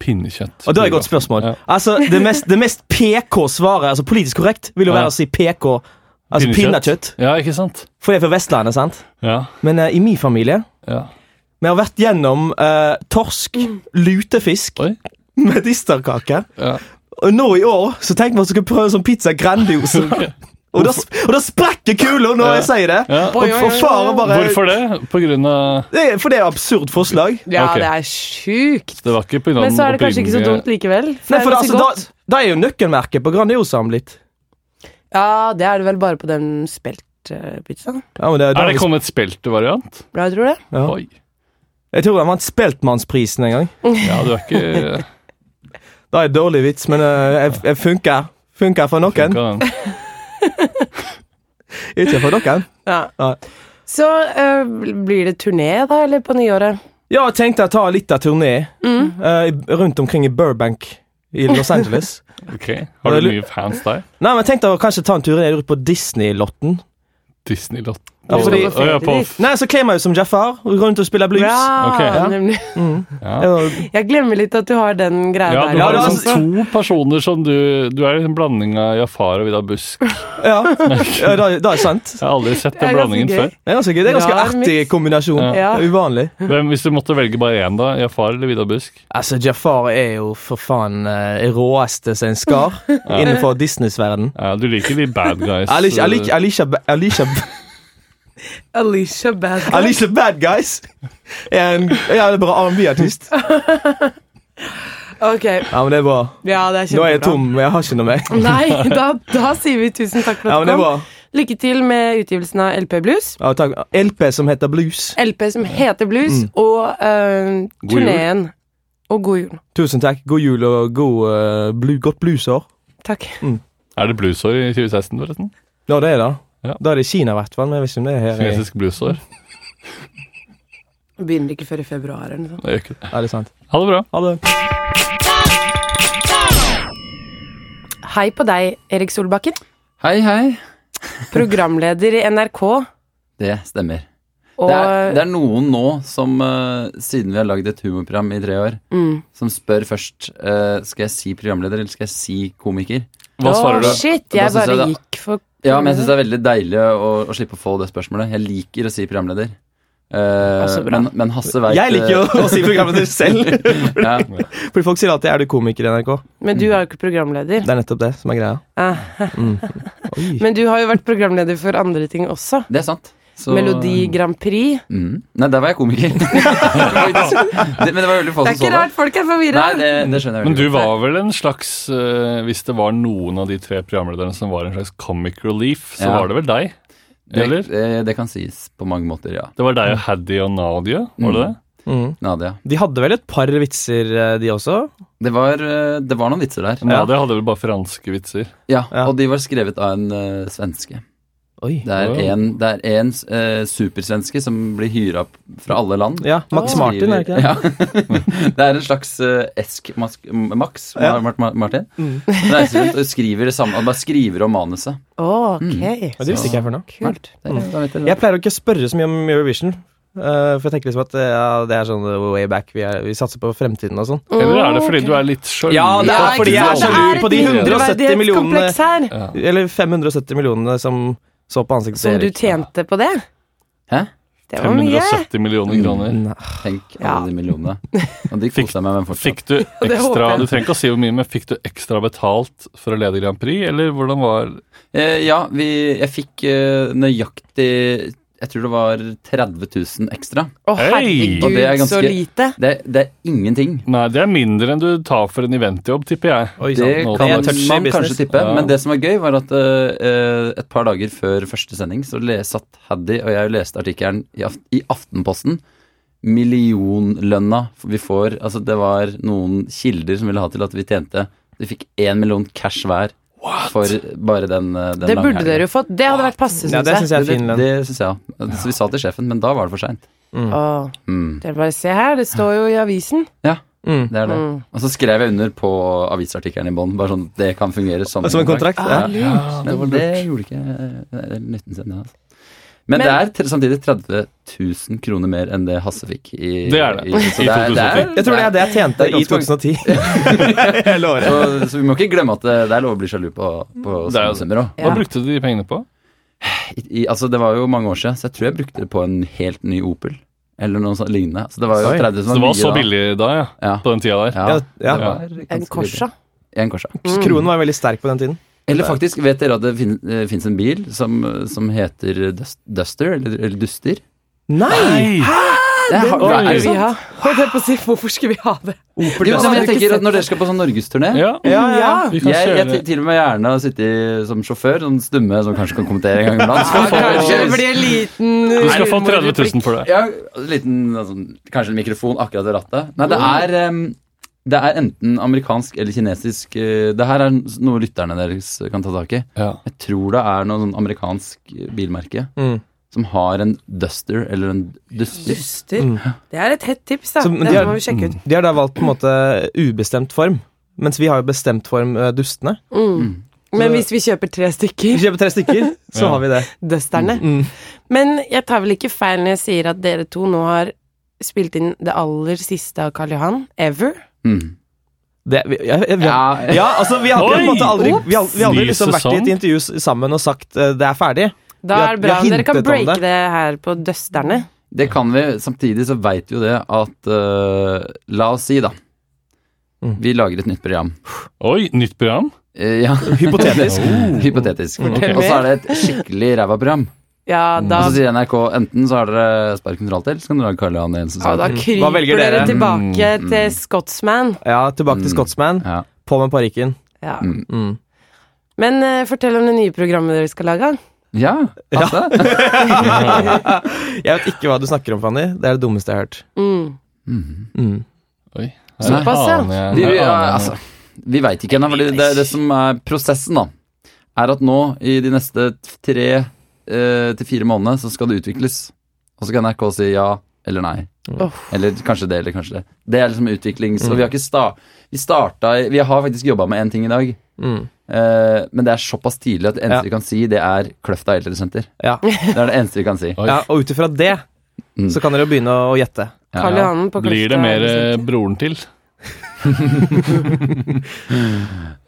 Speaker 4: pinnekjøtt?
Speaker 2: Og det er et godt spørsmål.
Speaker 4: Ja.
Speaker 2: Altså, det mest, det mest PK-svaret, altså politisk korrekt, vil jo
Speaker 4: Ja.
Speaker 2: være å si PK. Altså pinnekjøtt.
Speaker 4: Ja, ikke sant?
Speaker 2: For jeg er fra Vestlandet, sant?
Speaker 4: Ja,
Speaker 2: Men eh, i min familie
Speaker 4: ja.
Speaker 2: Vi har vært gjennom eh, torsk,
Speaker 1: Mm.
Speaker 2: lutefisk,
Speaker 4: Oi.
Speaker 2: medisterkake.
Speaker 4: Ja.
Speaker 2: Og nå i år så tenkte vi at vi skulle prøve sånn pizza grandiosa. og, da, sp- og da sprekker kula når jeg sier det!
Speaker 4: Ja.
Speaker 2: Og, og far bare
Speaker 4: Hvorfor det? På grunn av
Speaker 2: Det er, for det er absurd forslag.
Speaker 1: Ja,
Speaker 4: Ok.
Speaker 1: det er sjukt.
Speaker 4: Det var ikke på grunn av
Speaker 1: Men så er det kanskje ikke så
Speaker 4: opprinnelige-
Speaker 1: dumt likevel. For
Speaker 2: Nei, for
Speaker 1: det
Speaker 2: det,
Speaker 1: er
Speaker 2: altså,
Speaker 1: ganske godt.
Speaker 2: da, da er jo nøkkelmerket på Grandiosaen blitt.
Speaker 1: Ja, det er det vel bare på den speltpizzaen.
Speaker 2: Ja, men det,
Speaker 4: Er det
Speaker 2: da-
Speaker 4: kommet speltvariant?
Speaker 1: Ja, jeg tror det.
Speaker 2: Ja.
Speaker 4: Oi.
Speaker 2: jeg tror han vant Speltmannsprisen en gang.
Speaker 4: Ja, du er ikke
Speaker 2: Det er dårlig vits, men eh, jeg, jeg funker. Funker for noen,
Speaker 4: Funka den.
Speaker 2: ikke for noen.
Speaker 1: Ja.
Speaker 2: Ja.
Speaker 1: Så eh, blir det turné, da, eller på nyåret? Mm.
Speaker 2: Ja, jeg tenkte jeg tar litt av turné eh, i- rundt omkring i Burbank i Los Angeles.
Speaker 4: Ok, Har du mye fans der?
Speaker 2: Nei, men tenk deg å kanskje ta en tur ned på Disney-lotten.
Speaker 4: Disney-lott.
Speaker 2: Ja, fordi-
Speaker 4: Å, ja, på f-
Speaker 2: Nei, så kler jeg meg ut som Jafar og går rundt og spiller blues.
Speaker 1: Ja,
Speaker 4: Ok, ja.
Speaker 1: nemlig.
Speaker 4: ja.
Speaker 2: Ja.
Speaker 1: Jeg glemmer litt at du har den greia
Speaker 4: Ja,
Speaker 1: der.
Speaker 4: du
Speaker 2: Ja,
Speaker 4: har
Speaker 2: det er
Speaker 4: liksom
Speaker 2: altså-
Speaker 4: to personer som du Du er en blanding av Jafar og Vidar Busk. Jeg
Speaker 2: Ja, ja da, da er det sant.
Speaker 4: har aldri sett
Speaker 1: Det
Speaker 4: den
Speaker 1: er ganske
Speaker 4: blandingen før.
Speaker 1: gøy.
Speaker 2: Det er ganske, gøy. det er ganske
Speaker 1: Rar
Speaker 2: artig
Speaker 1: mix.
Speaker 2: kombinasjon.
Speaker 1: Ja.
Speaker 2: Det er Uvanlig.
Speaker 4: Hvem, hvis du måtte velge bare én, da? Jafar eller Vidar Busk?
Speaker 2: Altså, Jafar er jo for faen eh, råeste som en skar innenfor Disneys-verden.
Speaker 4: Ja, du liker de bad guys.
Speaker 2: Alicia, Alicia, Alicia, Alicia,
Speaker 1: Alicia Badger.
Speaker 2: Alicia Bad Guys er en jævlig bra R&B-artist.
Speaker 1: Ok,
Speaker 2: Ja, men det er bra.
Speaker 1: ja, det er kjempebra.
Speaker 2: Nå er jeg tom, men jeg har ikke noe mer.
Speaker 1: Nei, da, da sier vi tusen takk for
Speaker 2: Ja,
Speaker 1: at
Speaker 2: men
Speaker 1: du
Speaker 2: det er bra.
Speaker 1: kom. Lykke til med utgivelsen av LP Blues.
Speaker 2: Ja, takk. LP som heter Blues.
Speaker 1: LP som heter Blues,
Speaker 6: Mm.
Speaker 1: og øh,
Speaker 4: God jul.
Speaker 1: turneen. Og god jul.
Speaker 2: Tusen takk. God jul og god, eh, blu, godt bluesår.
Speaker 1: Takk.
Speaker 4: Er det bluesår i 2016, forresten?
Speaker 2: Ja, det er det.
Speaker 4: Ja.
Speaker 2: Da er det i Kina, i hvert fall. Men jeg vet ikke om det er her. i-
Speaker 4: Kinesisk bluesår?
Speaker 1: Begynner ikke før i februar eller noe sånt.
Speaker 4: Det gjør ikke det.
Speaker 2: Ja, det er sant.
Speaker 4: Ha det bra.
Speaker 2: Ha det.
Speaker 1: Hei på deg, Erik Solbakken.
Speaker 6: Hei, hei.
Speaker 1: Programleder i NRK.
Speaker 6: Det stemmer.
Speaker 1: Og eh,
Speaker 6: Det er, det er noen nå som, eh, siden vi har lagd et humorprogram i tre år,
Speaker 1: Mm.
Speaker 6: som spør først eh, Skal jeg si programleder, eller skal jeg si komiker?
Speaker 4: Hva
Speaker 1: Å,
Speaker 4: svarer du?
Speaker 1: Shit,
Speaker 6: Da
Speaker 1: jeg
Speaker 6: synes
Speaker 1: bare
Speaker 6: jeg det-
Speaker 1: gikk for
Speaker 6: Ja, men jeg syns det er veldig deilig å, å slippe å få det spørsmålet. Jeg liker å si programleder. Eh,
Speaker 1: Ja, Ah, så bra.
Speaker 6: men, men Hasse veit
Speaker 2: Jeg liker jo å si programmet ditt selv.
Speaker 6: ja,
Speaker 2: Fordi folk sier alltid 'er du komiker i NRK'?
Speaker 1: Men du
Speaker 6: Mm.
Speaker 1: er jo ikke programleder.
Speaker 2: Det er nettopp det som er greia.
Speaker 1: Ah.
Speaker 2: Mm. Oi.
Speaker 1: Men du har jo vært programleder for andre ting også.
Speaker 6: Det er sant. Så-
Speaker 1: Melodi Grand Prix.
Speaker 6: Mm. Nei, der var jeg komiker. Det var ikke- det, men det var veldig få som
Speaker 1: Det er
Speaker 6: så
Speaker 1: ikke
Speaker 6: det.
Speaker 1: rart folk er
Speaker 6: Nei,
Speaker 1: forvirra!
Speaker 6: det, det skjønner jeg
Speaker 4: Men
Speaker 6: veldig
Speaker 4: du
Speaker 6: godt.
Speaker 4: var vel en slags eh, Hvis det var noen av de tre programlederne som var en slags comic relief, så
Speaker 6: Ja.
Speaker 4: var det vel deg? Eller?
Speaker 6: det, eh, det kan sies på mange måter, ja.
Speaker 4: Det var deg og Haddy og Nadia, var det det?
Speaker 2: Mm.
Speaker 6: Nadia.
Speaker 2: De hadde vel et par vitser, eh, de også?
Speaker 6: Det var, eh, det var noen vitser der.
Speaker 4: Nadia hadde vel bare franske vitser.
Speaker 6: Ja,
Speaker 2: Ja.
Speaker 6: og de var skrevet av en eh, svenske.
Speaker 2: Oi.
Speaker 6: Det er
Speaker 4: Wow.
Speaker 6: en, det er en eh, supersvenske som blir hyra opp fra alle land.
Speaker 2: Ja, Max
Speaker 6: Skriver-
Speaker 2: Martin, er det ikke det?
Speaker 6: Ja. det er en slags eh, Esk Max, Max
Speaker 2: Ja. Mm.
Speaker 6: Mar- Mar- Martin. Reiser rundt og skriver, det samme, han bare skriver om manuset.
Speaker 1: Ok,
Speaker 6: Mm.
Speaker 2: Ja, det visste ikke jeg for noe.
Speaker 1: kult.
Speaker 6: Det er, da vet dere det.
Speaker 2: Jeg pleier jo ikke å spørre så mye om Eurovision. eh, for jeg tenker liksom at eh, ja, det er sånn eh, way back. Vi, er, vi satser på fremtiden og sånn.
Speaker 4: Eller er det fordi
Speaker 1: Ok.
Speaker 4: du er litt sjalu?
Speaker 2: Ja, det er
Speaker 4: på at
Speaker 2: fordi
Speaker 4: du
Speaker 2: jeg er
Speaker 4: aldri-
Speaker 2: sjalu på de
Speaker 1: et
Speaker 2: 170 millionene.
Speaker 1: mindreverdighetskompleks her.
Speaker 4: Ja.
Speaker 2: Eller 570 millionene som så på ansiktet
Speaker 1: Så du
Speaker 2: Erik.
Speaker 1: tjente på det?
Speaker 6: Hæ?
Speaker 1: Det var mye.
Speaker 4: 570 millioner kroner.
Speaker 2: Nei.
Speaker 6: Tenk alle
Speaker 1: Ja.
Speaker 6: de millionene. Og de
Speaker 4: Fikk-
Speaker 6: kosa meg med den fortsatt.
Speaker 4: Fikk du ekstra
Speaker 1: jeg.
Speaker 4: Du trenger ikke å si hvor mye, men fikk du ekstra betalt for å lede Grand Prix, eller hvordan var
Speaker 6: Eh, ja, vi, jeg fikk eh, nøyaktig Jeg tror det var 30 000 ekstra.
Speaker 1: Å,
Speaker 4: Hei!
Speaker 1: herregud,
Speaker 6: Og det er ganske-
Speaker 1: så lite.
Speaker 6: Det, det er ingenting.
Speaker 4: Nei, det er mindre enn du tar for en eventjobb, tipper jeg.
Speaker 2: Oi,
Speaker 6: Det
Speaker 2: sant.
Speaker 4: nå
Speaker 6: kan
Speaker 2: Det er
Speaker 6: man
Speaker 2: touchy business.
Speaker 6: kanskje tippe,
Speaker 4: Ja.
Speaker 6: men det som var gøy, var at eh, et par dager før første sending, så le- satt Haddy og jeg og leste artikkelen i, aft i Aftenposten. Millionlønna vi får Altså, det var noen kilder som ville ha til at vi tjente Vi fikk én million cash hver for bare den, eh, den
Speaker 1: Det
Speaker 6: lange
Speaker 1: burde
Speaker 6: helgen.
Speaker 1: dere jo fått. Det hadde vært passe,
Speaker 2: Ja,
Speaker 1: syns
Speaker 2: det
Speaker 1: jeg.
Speaker 2: syns jeg er
Speaker 6: Det,
Speaker 2: fin
Speaker 6: det,
Speaker 2: lønn.
Speaker 6: syns jeg òg. Så vi sa til sjefen, men da var det for seint.
Speaker 1: Å,
Speaker 6: Mm.
Speaker 1: dere bare se her, det står jo i avisen.
Speaker 2: Mm.
Speaker 6: Det er det.
Speaker 1: Mm.
Speaker 6: Og så skrev jeg under på avisartikkelen i bånn. Bare sånn Det kan fungere som
Speaker 2: Som en kontrakt? Ja.
Speaker 6: Men det, gjorde ikke eh, nytten sin. det, Altså. Men, det er tre- samtidig 30 000 kroner mer enn det Hasse fikk. I,
Speaker 4: Det er det.
Speaker 6: så
Speaker 4: I 2010.
Speaker 2: Jeg tror det er det jeg tjente
Speaker 6: Det er
Speaker 2: i
Speaker 6: ganske
Speaker 2: 2010. Hele året.
Speaker 6: Så, så vi må ikke glemme at det, det er lov å bli sjalu på, på
Speaker 4: Det er jo
Speaker 6: sånne summer òg.
Speaker 4: Hva
Speaker 1: Ja.
Speaker 4: brukte du de pengene på?
Speaker 6: Altså, det var jo mange år siden, så jeg tror jeg brukte det på en helt ny Opel. Eller noe sånt lignende. Så det var jo
Speaker 2: Oi.
Speaker 6: 30 000
Speaker 4: Så det var
Speaker 6: mye
Speaker 4: så
Speaker 6: da.
Speaker 4: billig da, ja.
Speaker 6: Ja.
Speaker 4: På den tida der.
Speaker 6: Ja,
Speaker 2: Ja, ja. Mm.
Speaker 6: det var
Speaker 1: En
Speaker 6: ganske
Speaker 1: Corsa.
Speaker 6: billig. En Corsa.
Speaker 2: Kronen var veldig sterk på den tiden.
Speaker 6: Eller faktisk, vet dere at det fins en bil som, som heter Dust, Duster, eller, eller Duster?
Speaker 2: Nei!
Speaker 6: Det er,
Speaker 1: Hvorfor
Speaker 6: er det
Speaker 1: skulle vi
Speaker 6: sant?
Speaker 1: ha? Og det er på å si, hvorfor skulle vi ha det?
Speaker 6: Jo, men
Speaker 1: Duster.
Speaker 6: jeg tenker at Når dere skal på sånn norgesturné
Speaker 4: Ja,
Speaker 2: Ja, ja, ja.
Speaker 4: vi kan
Speaker 6: Jeg, jeg
Speaker 4: kjøre
Speaker 6: til- til og med gjerne sitte i- som sjåfør, sånn stumme som kanskje kan kommentere en gang iblant. Så får jeg-
Speaker 1: Kanskje det blir en liten eh,
Speaker 4: Du skal få 30 000 for det.
Speaker 6: Ja, en liten, altså, kanskje en mikrofon akkurat ved rattet. Nei, det er, em, det er enten amerikansk eller kinesisk eh, Det her er noe lytterne deres kan ta tak i.
Speaker 4: Ja.
Speaker 6: Jeg tror det er noe sånn amerikansk bilmerke
Speaker 2: Mm.
Speaker 6: som har en duster eller en duster.
Speaker 1: Duster. Det er et hett tips, da.
Speaker 2: Mm. Så, men de
Speaker 1: Dette
Speaker 2: er-
Speaker 1: må vi sjekke ut.
Speaker 2: De har da valgt på en måte ubestemt form. Mens vi har jo bestemt form eh, dustene.
Speaker 1: Mm. Men hvis vi kjøper tre
Speaker 2: Vi
Speaker 1: stykker,
Speaker 2: kjøper tre stykker, så
Speaker 4: Ja.
Speaker 2: har vi det.
Speaker 1: dusterne
Speaker 2: Mm.
Speaker 1: Men jeg tar vel ikke feil når jeg sier at dere to nå har spilt inn det aller siste av Karl Johan ever?
Speaker 6: Mm.
Speaker 2: Det, vi, ja, ja, vi-
Speaker 6: Ja.
Speaker 2: ja, altså, vi har på en
Speaker 3: Oi!
Speaker 2: måte aldri, vi har, vi har aldri
Speaker 4: Ny
Speaker 2: liksom vært i et
Speaker 4: sesong.
Speaker 2: intervju s- sammen og sagt eh, 'det er ferdig'.
Speaker 1: Da
Speaker 2: Vi har-
Speaker 1: er det
Speaker 2: vi
Speaker 1: bra
Speaker 2: har
Speaker 1: om dere kan
Speaker 2: hintet om
Speaker 1: breake
Speaker 2: det.
Speaker 1: det her på dusterne.
Speaker 6: Det kan vi. Samtidig så veit vi jo det at eh, La oss si, da.
Speaker 2: Mm.
Speaker 6: Vi lager et nytt program.
Speaker 4: Oi, nytt program?
Speaker 6: Eh, ja.
Speaker 2: Hypotetisk. Mm.
Speaker 6: Hypotetisk.
Speaker 1: Fortell
Speaker 6: Og så
Speaker 1: mer.
Speaker 6: er det et skikkelig ræva program.
Speaker 1: Ja, da,
Speaker 2: Altså,
Speaker 6: Og så sier Altså, NRK enten så har dere sparken fra alt til, så kan dere lage Karl Johan i en
Speaker 1: ja, da
Speaker 6: sesong.
Speaker 2: Hva
Speaker 1: kryper
Speaker 2: velger
Speaker 1: dere?
Speaker 2: dere?
Speaker 1: tilbake
Speaker 6: Mm,
Speaker 1: til
Speaker 6: mm.
Speaker 1: Scotsman.
Speaker 2: Ja, tilbake til
Speaker 6: Mm.
Speaker 2: Scotsman.
Speaker 6: Ja.
Speaker 2: På med parykken.
Speaker 1: Ja.
Speaker 6: Mm.
Speaker 2: Mm.
Speaker 1: Men eh, fortell om det nye programmet dere skal lage.
Speaker 6: ja, altså.
Speaker 2: Jeg vet ikke hva du snakker om, Fanny. Det er det dummeste jeg har hørt.
Speaker 1: Mm.
Speaker 6: Mm.
Speaker 2: Mm.
Speaker 4: Oi.
Speaker 6: Såpass,
Speaker 1: ja.
Speaker 6: Vi, ja, altså, vi veit ikke ennå, for det, det, det som er prosessen, da, er at nå i de neste tre eh, til fire månedene så skal det utvikles. Og så kan NRK si ja eller nei.
Speaker 1: Åh.
Speaker 6: Eller kanskje det, eller kanskje det. Det er liksom utvikling. Så
Speaker 2: Mm.
Speaker 6: vi har ikke sta Vi starta i- Vi har faktisk jobba med én ting i dag.
Speaker 2: Mm.
Speaker 6: eh, men det er såpass tidlig at det eneste
Speaker 2: Ja.
Speaker 6: vi kan si, det er Kløfta eldresenter.
Speaker 2: Ja.
Speaker 6: Det er det eneste vi kan si.
Speaker 4: Oi.
Speaker 2: Ja, og ut ifra det
Speaker 6: Mm.
Speaker 2: så kan dere jo begynne å gjette.
Speaker 6: Ja,
Speaker 1: Karl
Speaker 6: ja.
Speaker 1: Johan på
Speaker 4: Blir det
Speaker 1: Kløfta,
Speaker 4: mer eh,
Speaker 1: liksom.
Speaker 4: broren til?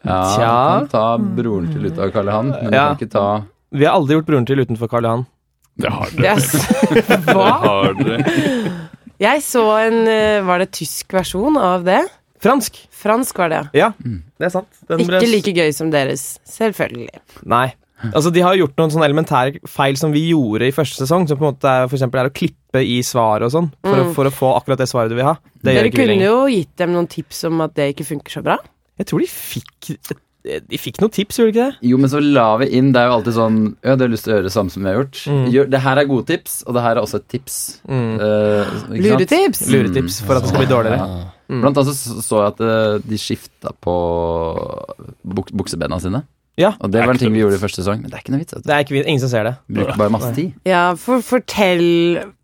Speaker 6: Ja,
Speaker 2: Tja.
Speaker 6: kan ta broren til ut av Karl Johan, men
Speaker 2: Ja.
Speaker 6: du kan ikke ta
Speaker 2: Vi har aldri gjort Broren til utenfor Karl Johan.
Speaker 4: Det har
Speaker 1: Det
Speaker 4: dere.
Speaker 1: er s- Hva?
Speaker 4: Har dere.
Speaker 1: Jeg så en eh, Var det tysk versjon av det?
Speaker 2: Fransk!
Speaker 1: Fransk var det, ja.
Speaker 2: Ja, det er sant. Den ble-
Speaker 1: Ikke like gøy som deres, selvfølgelig.
Speaker 2: Nei. Altså, de har gjort noen sånne elementære feil som vi gjorde i første sesong, som på en måte er, for eksempel er å klippe i svaret og sånn, for, å-
Speaker 1: Mm.
Speaker 2: for å få akkurat det svaret du vil ha. Det gjør
Speaker 1: Dere
Speaker 2: ikke vi
Speaker 1: kunne
Speaker 2: lenger.
Speaker 1: jo gitt dem noen tips om at det ikke funker så bra.
Speaker 2: Jeg tror de fikk De fikk noen tips, gjorde de ikke det?
Speaker 6: Jo, men så la vi inn Det er jo alltid sånn Ja, du har lyst til å gjøre det samme som vi har gjort.
Speaker 2: Mm.
Speaker 6: Gjør, det her er gode tips, og det her er også et tips.
Speaker 2: Mm.
Speaker 6: Eh, ikke sant?
Speaker 1: Luretips!
Speaker 6: Lure-
Speaker 2: Luretips for at det skal bli dårligere.
Speaker 6: Ja.
Speaker 2: Mm.
Speaker 6: Blant annet så så jeg at eh, de skifta på buk buksebena sine.
Speaker 2: Ja.
Speaker 6: Og det var en ting vi gjorde i første sesong. Men det er ikke noe vits. vet du.
Speaker 2: Det er ikke, vi- ingen som ser det.
Speaker 6: Bruker bare masse tid.
Speaker 1: Ja, for fortell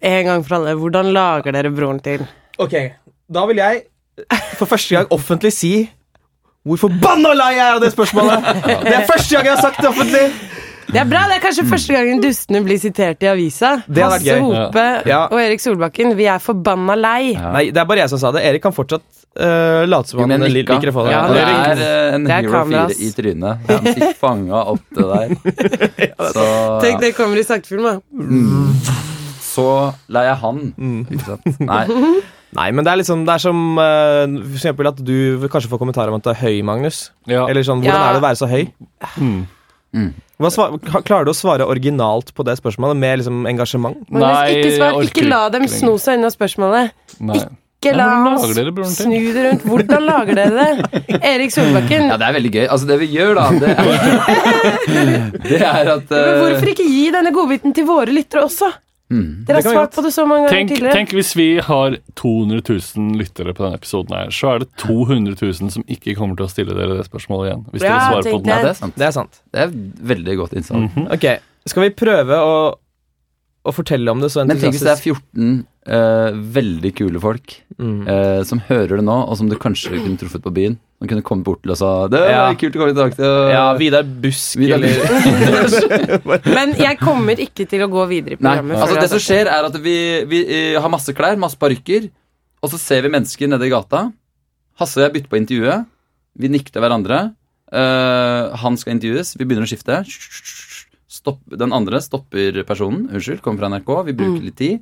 Speaker 1: en gang for alle, hvordan lager dere broren til?
Speaker 2: Ok, da vil jeg for første gang offentlig si hvor forbanna lei jeg er av det spørsmålet! Det er første gang jeg har sagt det offentlig!
Speaker 1: Det er bra, det er kanskje første gangen dustene blir sitert i avisa.
Speaker 2: Det hadde vært
Speaker 1: Hasse
Speaker 2: gøy.
Speaker 1: Hope
Speaker 2: Ja.
Speaker 1: og Erik Solbakken, vi er forbanna lei.
Speaker 6: Ja.
Speaker 2: Nei, det er bare jeg som sa det. Erik kan fortsatt øh, late som
Speaker 6: Jo,
Speaker 2: han
Speaker 6: men
Speaker 2: li-
Speaker 6: nikka.
Speaker 2: liker å få det.
Speaker 1: Ja,
Speaker 6: Ja, det er eh, en
Speaker 1: Det er
Speaker 6: Hero 4
Speaker 1: kameras.
Speaker 6: i trynet. Han fikk fanga opp det der. Så,
Speaker 1: Tenk, det kommer i sakte film, da.
Speaker 6: så la jeg han. Ikke sant? Nei.
Speaker 2: Nei, men det er liksom Det er som øh, for eksempel at du kanskje får kommentar om at du er høy, Magnus.
Speaker 4: Ja.
Speaker 2: Eller sånn, Hvordan
Speaker 1: Ja.
Speaker 2: er det å være så høy?
Speaker 4: Mm.
Speaker 2: Hva svar, ka- klarer du å svare originalt på det spørsmålet, med liksom engasjement?
Speaker 1: Magnus,
Speaker 4: Nei,
Speaker 1: ikke svar.
Speaker 4: jeg orker
Speaker 1: Ikke la dem
Speaker 4: ikke lenger.
Speaker 1: sno seg unna spørsmålet.
Speaker 4: Nei.
Speaker 1: Ikke la
Speaker 4: Ja, hvordan
Speaker 1: oss
Speaker 4: lager dere broren til?
Speaker 1: snu det rundt. Hvordan lager dere det? Erik Solbakken,
Speaker 6: Ja, det er veldig gøy. Altså, det vi gjør, da, det er, det er at
Speaker 1: men hvorfor
Speaker 6: eh,
Speaker 1: ikke gi denne godbiten til våre lyttere også?
Speaker 6: mm,
Speaker 1: Dere
Speaker 2: Det kan
Speaker 1: har
Speaker 2: vi
Speaker 1: svart på det så mange ganger
Speaker 4: Tenk,
Speaker 1: tidligere.
Speaker 4: tenk hvis vi har 200 000 lyttere på denne episoden her, så er det 200 000 som ikke kommer til å stille dere det spørsmålet igjen. Hvis
Speaker 1: Ja,
Speaker 4: dere svarer på
Speaker 1: tenk
Speaker 6: ja, det
Speaker 4: den.
Speaker 6: er sant.
Speaker 2: Det er sant.
Speaker 6: Det er veldig godt innsalg.
Speaker 4: Mhm.
Speaker 2: Ok, Skal vi prøve å, å fortelle om det så
Speaker 6: Men tenk hvis det er
Speaker 2: entusiastisk?
Speaker 6: 14 eh, veldig kule folk
Speaker 2: Mm.
Speaker 6: eh, som hører det nå, og som du kanskje kunne truffet på byen. Som kunne kommet bort til og sa Det var
Speaker 2: Ja.
Speaker 6: kult å komme tilbake til og-
Speaker 2: Ja, Vidar Busk
Speaker 6: Vidar
Speaker 2: eller
Speaker 1: Men jeg kommer ikke til å gå videre i
Speaker 6: Nei,
Speaker 1: programmet.
Speaker 6: altså
Speaker 1: før
Speaker 6: det
Speaker 1: jeg-
Speaker 6: som skjer er at vi, vi eh, har masse klær, masse parykker, og så ser vi mennesker nede i gata. Hasse og jeg bytter på intervjuet. Vi nikker til hverandre. Eh, han skal intervjues. Vi begynner å skifte. Stopp, den andre stopper personen. Unnskyld, kommer fra NRK. Vi bruker
Speaker 4: Mm.
Speaker 6: litt tid.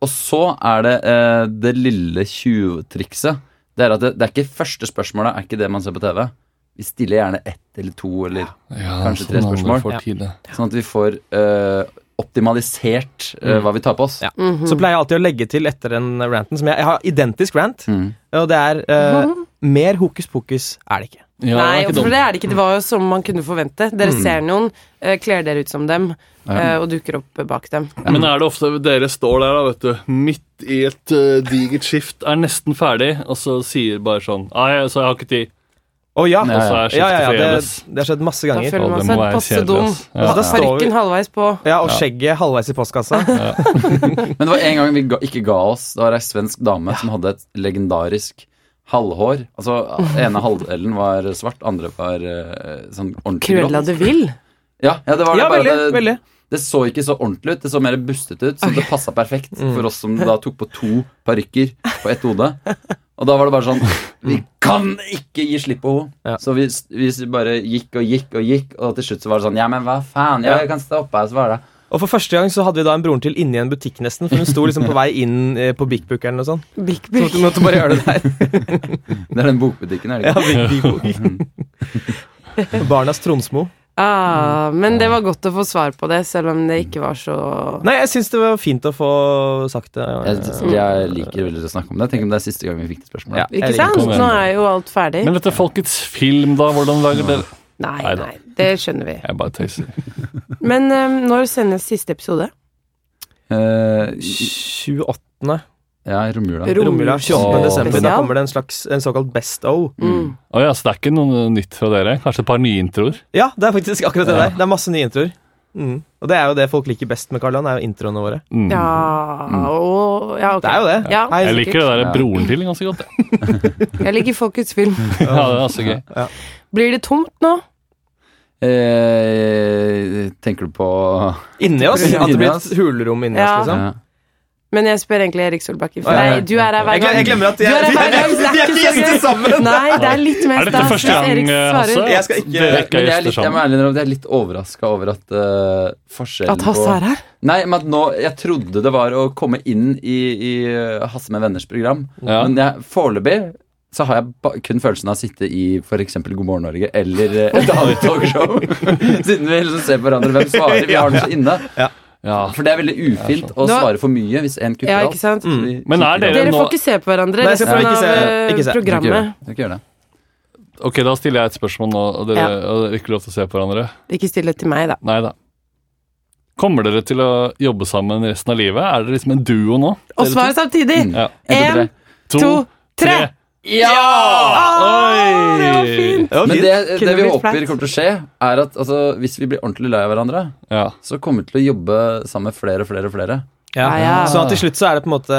Speaker 6: Og så er det eh, det lille tjuvtrikset. Det er at det, det er ikke første spørsmålet er ikke det man ser på TV. Vi stiller gjerne ett eller to, eller
Speaker 4: Ja,
Speaker 6: Kanskje tre
Speaker 4: andre
Speaker 6: spørsmål.
Speaker 4: får
Speaker 2: Ja.
Speaker 4: tid, det.
Speaker 6: sånn at vi får eh, optimalisert
Speaker 4: Mm.
Speaker 6: eh, hva vi tar på oss.
Speaker 2: Ja. Så pleier jeg alltid å legge til etter den ranten, som jeg, jeg har identisk rant,
Speaker 6: Mm.
Speaker 2: og det er eh, Mer hokus pokus er det ikke.
Speaker 4: Ja,
Speaker 1: Nei,
Speaker 4: det er ikke
Speaker 1: for
Speaker 4: dumt.
Speaker 1: det er det ikke. Det var jo som man kunne forvente. Dere
Speaker 6: Mm.
Speaker 1: ser noen, eh, kler dere ut som dem, eh, og dukker opp bak dem.
Speaker 3: Men er det ofte dere står der, da, vet du, midt i et eh, digert skift, er nesten ferdig, og så sier bare sånn Nei, så
Speaker 4: altså,
Speaker 3: jeg har ikke tid.
Speaker 2: Å ja!
Speaker 6: Nei,
Speaker 4: Og så er skiftet
Speaker 2: ja, ja, ja det,
Speaker 4: forgjeves.
Speaker 2: det har skjedd masse
Speaker 1: Da
Speaker 2: ganger.
Speaker 1: føler
Speaker 4: Ja,
Speaker 1: man
Speaker 4: det
Speaker 1: seg
Speaker 4: må være
Speaker 1: passe
Speaker 4: kjedelig,
Speaker 1: dum.
Speaker 4: ass. Ja.
Speaker 2: Og da står vi
Speaker 1: Parykken halvveis på.
Speaker 2: Ja, og skjegget halvveis i postkassa.
Speaker 6: Men det var en gang vi ga, ikke ga oss. Det var ei svensk dame som hadde et legendarisk halvhår. Altså, ene halvdelen var svart, andre var eh, sånn ordentlig
Speaker 1: Cruella
Speaker 6: blått.
Speaker 1: du vil.
Speaker 6: Ja, ja, det var
Speaker 2: Ja,
Speaker 6: bare
Speaker 2: veldig.
Speaker 6: det,
Speaker 2: veldig
Speaker 6: det så ikke så ordentlig ut, det så mer bustet ut, så det passa perfekt
Speaker 2: Mm.
Speaker 6: for oss som da tok på to parykker på ett hode. Og da var det bare sånn Vi kan ikke gi slipp på henne!
Speaker 2: Ja.
Speaker 6: Så vi, vi bare gikk og gikk og gikk, og til slutt så var det sånn Ja, men hva faen? Ja, jeg kan stå oppe her, så var det
Speaker 2: Og for første gang så hadde vi da en broren til inni en butikk, nesten. For hun sto liksom på vei inn eh, på Big Book eller noe sånt.
Speaker 1: Big
Speaker 2: Så
Speaker 1: Book.
Speaker 2: måtte- måtte bare gjøre det der.
Speaker 6: Det er den bokbutikken, er det
Speaker 2: Ja,
Speaker 6: ikke?
Speaker 2: Big, Big Book. Barnas Tronsmo.
Speaker 1: Ah, men det var godt å få svar på det, selv om det ikke var så
Speaker 2: Nei, jeg syns det var fint å få sagt det. eh,
Speaker 6: Jeg,
Speaker 4: Mm.
Speaker 6: jeg liker veldig å snakke om det. Tenk om det er siste gang vi fikk det spørsmålet.
Speaker 2: Ja,
Speaker 1: Ikke
Speaker 2: jeg liker
Speaker 1: sant?
Speaker 2: det.
Speaker 1: Nå er jo alt ferdig.
Speaker 4: Men dette folkets film, da? Hvordan lager dere
Speaker 1: Nei,
Speaker 4: Nei da.
Speaker 1: nei. Det skjønner vi.
Speaker 4: Jeg bare tøyser.
Speaker 1: Men eh, når sendes siste episode?
Speaker 6: Eh,
Speaker 2: 28.
Speaker 6: ja, i romjula.
Speaker 2: romjula. 28. desember. Da
Speaker 1: Spesial.
Speaker 2: kommer det en slags en såkalt Best O.
Speaker 1: Mm.
Speaker 4: Å ja, så det er ikke noe nytt fra dere? Kanskje et par nye introer?
Speaker 2: Ja, det er faktisk akkurat det der. Det er masse nye introer. Mm. Og det er jo det folk liker best med Karl Johan, er jo introene våre.
Speaker 4: Mm.
Speaker 1: Ja, og, ja ok.
Speaker 2: Det er jo det.
Speaker 1: Ja,
Speaker 2: Hei,
Speaker 4: Jeg
Speaker 1: sikkert.
Speaker 4: liker det der
Speaker 6: Ja.
Speaker 4: broren til ganske godt. jeg.
Speaker 1: Jeg liker folkets film.
Speaker 4: Ja, det er altså gøy.
Speaker 2: Ja.
Speaker 1: Blir det tomt nå?
Speaker 6: Eh, tenker du på
Speaker 2: Inni oss. At det blir et hulrom inni
Speaker 1: Ja.
Speaker 2: oss, liksom.
Speaker 6: Ja.
Speaker 1: Men jeg spør egentlig Erik Solbakken, for
Speaker 2: Å, ja, ja.
Speaker 1: nei, du er her hver
Speaker 2: Jeg, gle-
Speaker 1: gang.
Speaker 2: jeg glemmer at
Speaker 1: Du
Speaker 2: jeg,
Speaker 1: er her hver gang, så det
Speaker 2: vi er ikke gjester sammen!
Speaker 1: Nei, det er litt mer
Speaker 4: Er dette
Speaker 1: stas
Speaker 4: første
Speaker 1: hvis Erik
Speaker 4: gang, eh, Hasse?
Speaker 1: svarer
Speaker 2: Jeg skal ikke-
Speaker 4: Dere
Speaker 6: Men
Speaker 4: ikke er
Speaker 6: jeg er litt,
Speaker 4: gjester
Speaker 6: jeg må
Speaker 4: sammen?
Speaker 6: ærlig innrømme at jeg er litt overraska over at eh, forskjellen
Speaker 1: at Hasse er
Speaker 6: på
Speaker 1: her.
Speaker 6: Nei, men at nå Jeg trodde det var å komme inn i, i eh, Hasse med venners program,
Speaker 4: Ja.
Speaker 6: men jeg- foreløpig så har jeg ba kun følelsen av å sitte i f.eks. God morgen Norge eller eh, et annet talkshow. Siden vi liksom ser på hverandre hvem svarer. Vi har den så inne.
Speaker 4: Ja.
Speaker 6: For det er veldig ufilt å
Speaker 1: Nå-
Speaker 6: svare for mye hvis én kutter
Speaker 1: Ja,
Speaker 6: alt.
Speaker 1: ikke sant?
Speaker 6: Så vi
Speaker 4: Men er
Speaker 6: kikker
Speaker 1: Dere
Speaker 4: nå-
Speaker 1: får ikke se på hverandre
Speaker 2: Nei, jeg skal
Speaker 1: resten
Speaker 2: prøve ikke
Speaker 1: av
Speaker 2: se.
Speaker 1: eh,
Speaker 2: Ikke
Speaker 6: opp. Dere får ikke
Speaker 2: se.
Speaker 6: gjøre det.
Speaker 1: programmet.
Speaker 6: Dere får ikke gjøre det.
Speaker 4: Ok, da stiller jeg et spørsmål nå, og dere og ikke lov til å se på hverandre.
Speaker 1: Ikke stille til meg, da.
Speaker 4: Nei da. Kommer dere til å jobbe sammen resten av livet? Er dere liksom en duo nå?
Speaker 1: Og svar samtidig!
Speaker 6: Mm.
Speaker 4: Ja.
Speaker 6: En, to,
Speaker 1: Én, to, tre! Å, det var fint!
Speaker 2: Det var
Speaker 6: Men
Speaker 2: fint.
Speaker 6: det, det
Speaker 1: Kunne
Speaker 6: vi
Speaker 1: blitt
Speaker 6: håper
Speaker 1: flaut.
Speaker 6: kommer til å skje, er at altså, hvis vi blir ordentlig lei av hverandre,
Speaker 4: Ja.
Speaker 6: så kommer vi til å jobbe sammen med flere og flere og flere.
Speaker 2: Ja.
Speaker 1: Ja, ja.
Speaker 2: Så Sånn til slutt så er det på en måte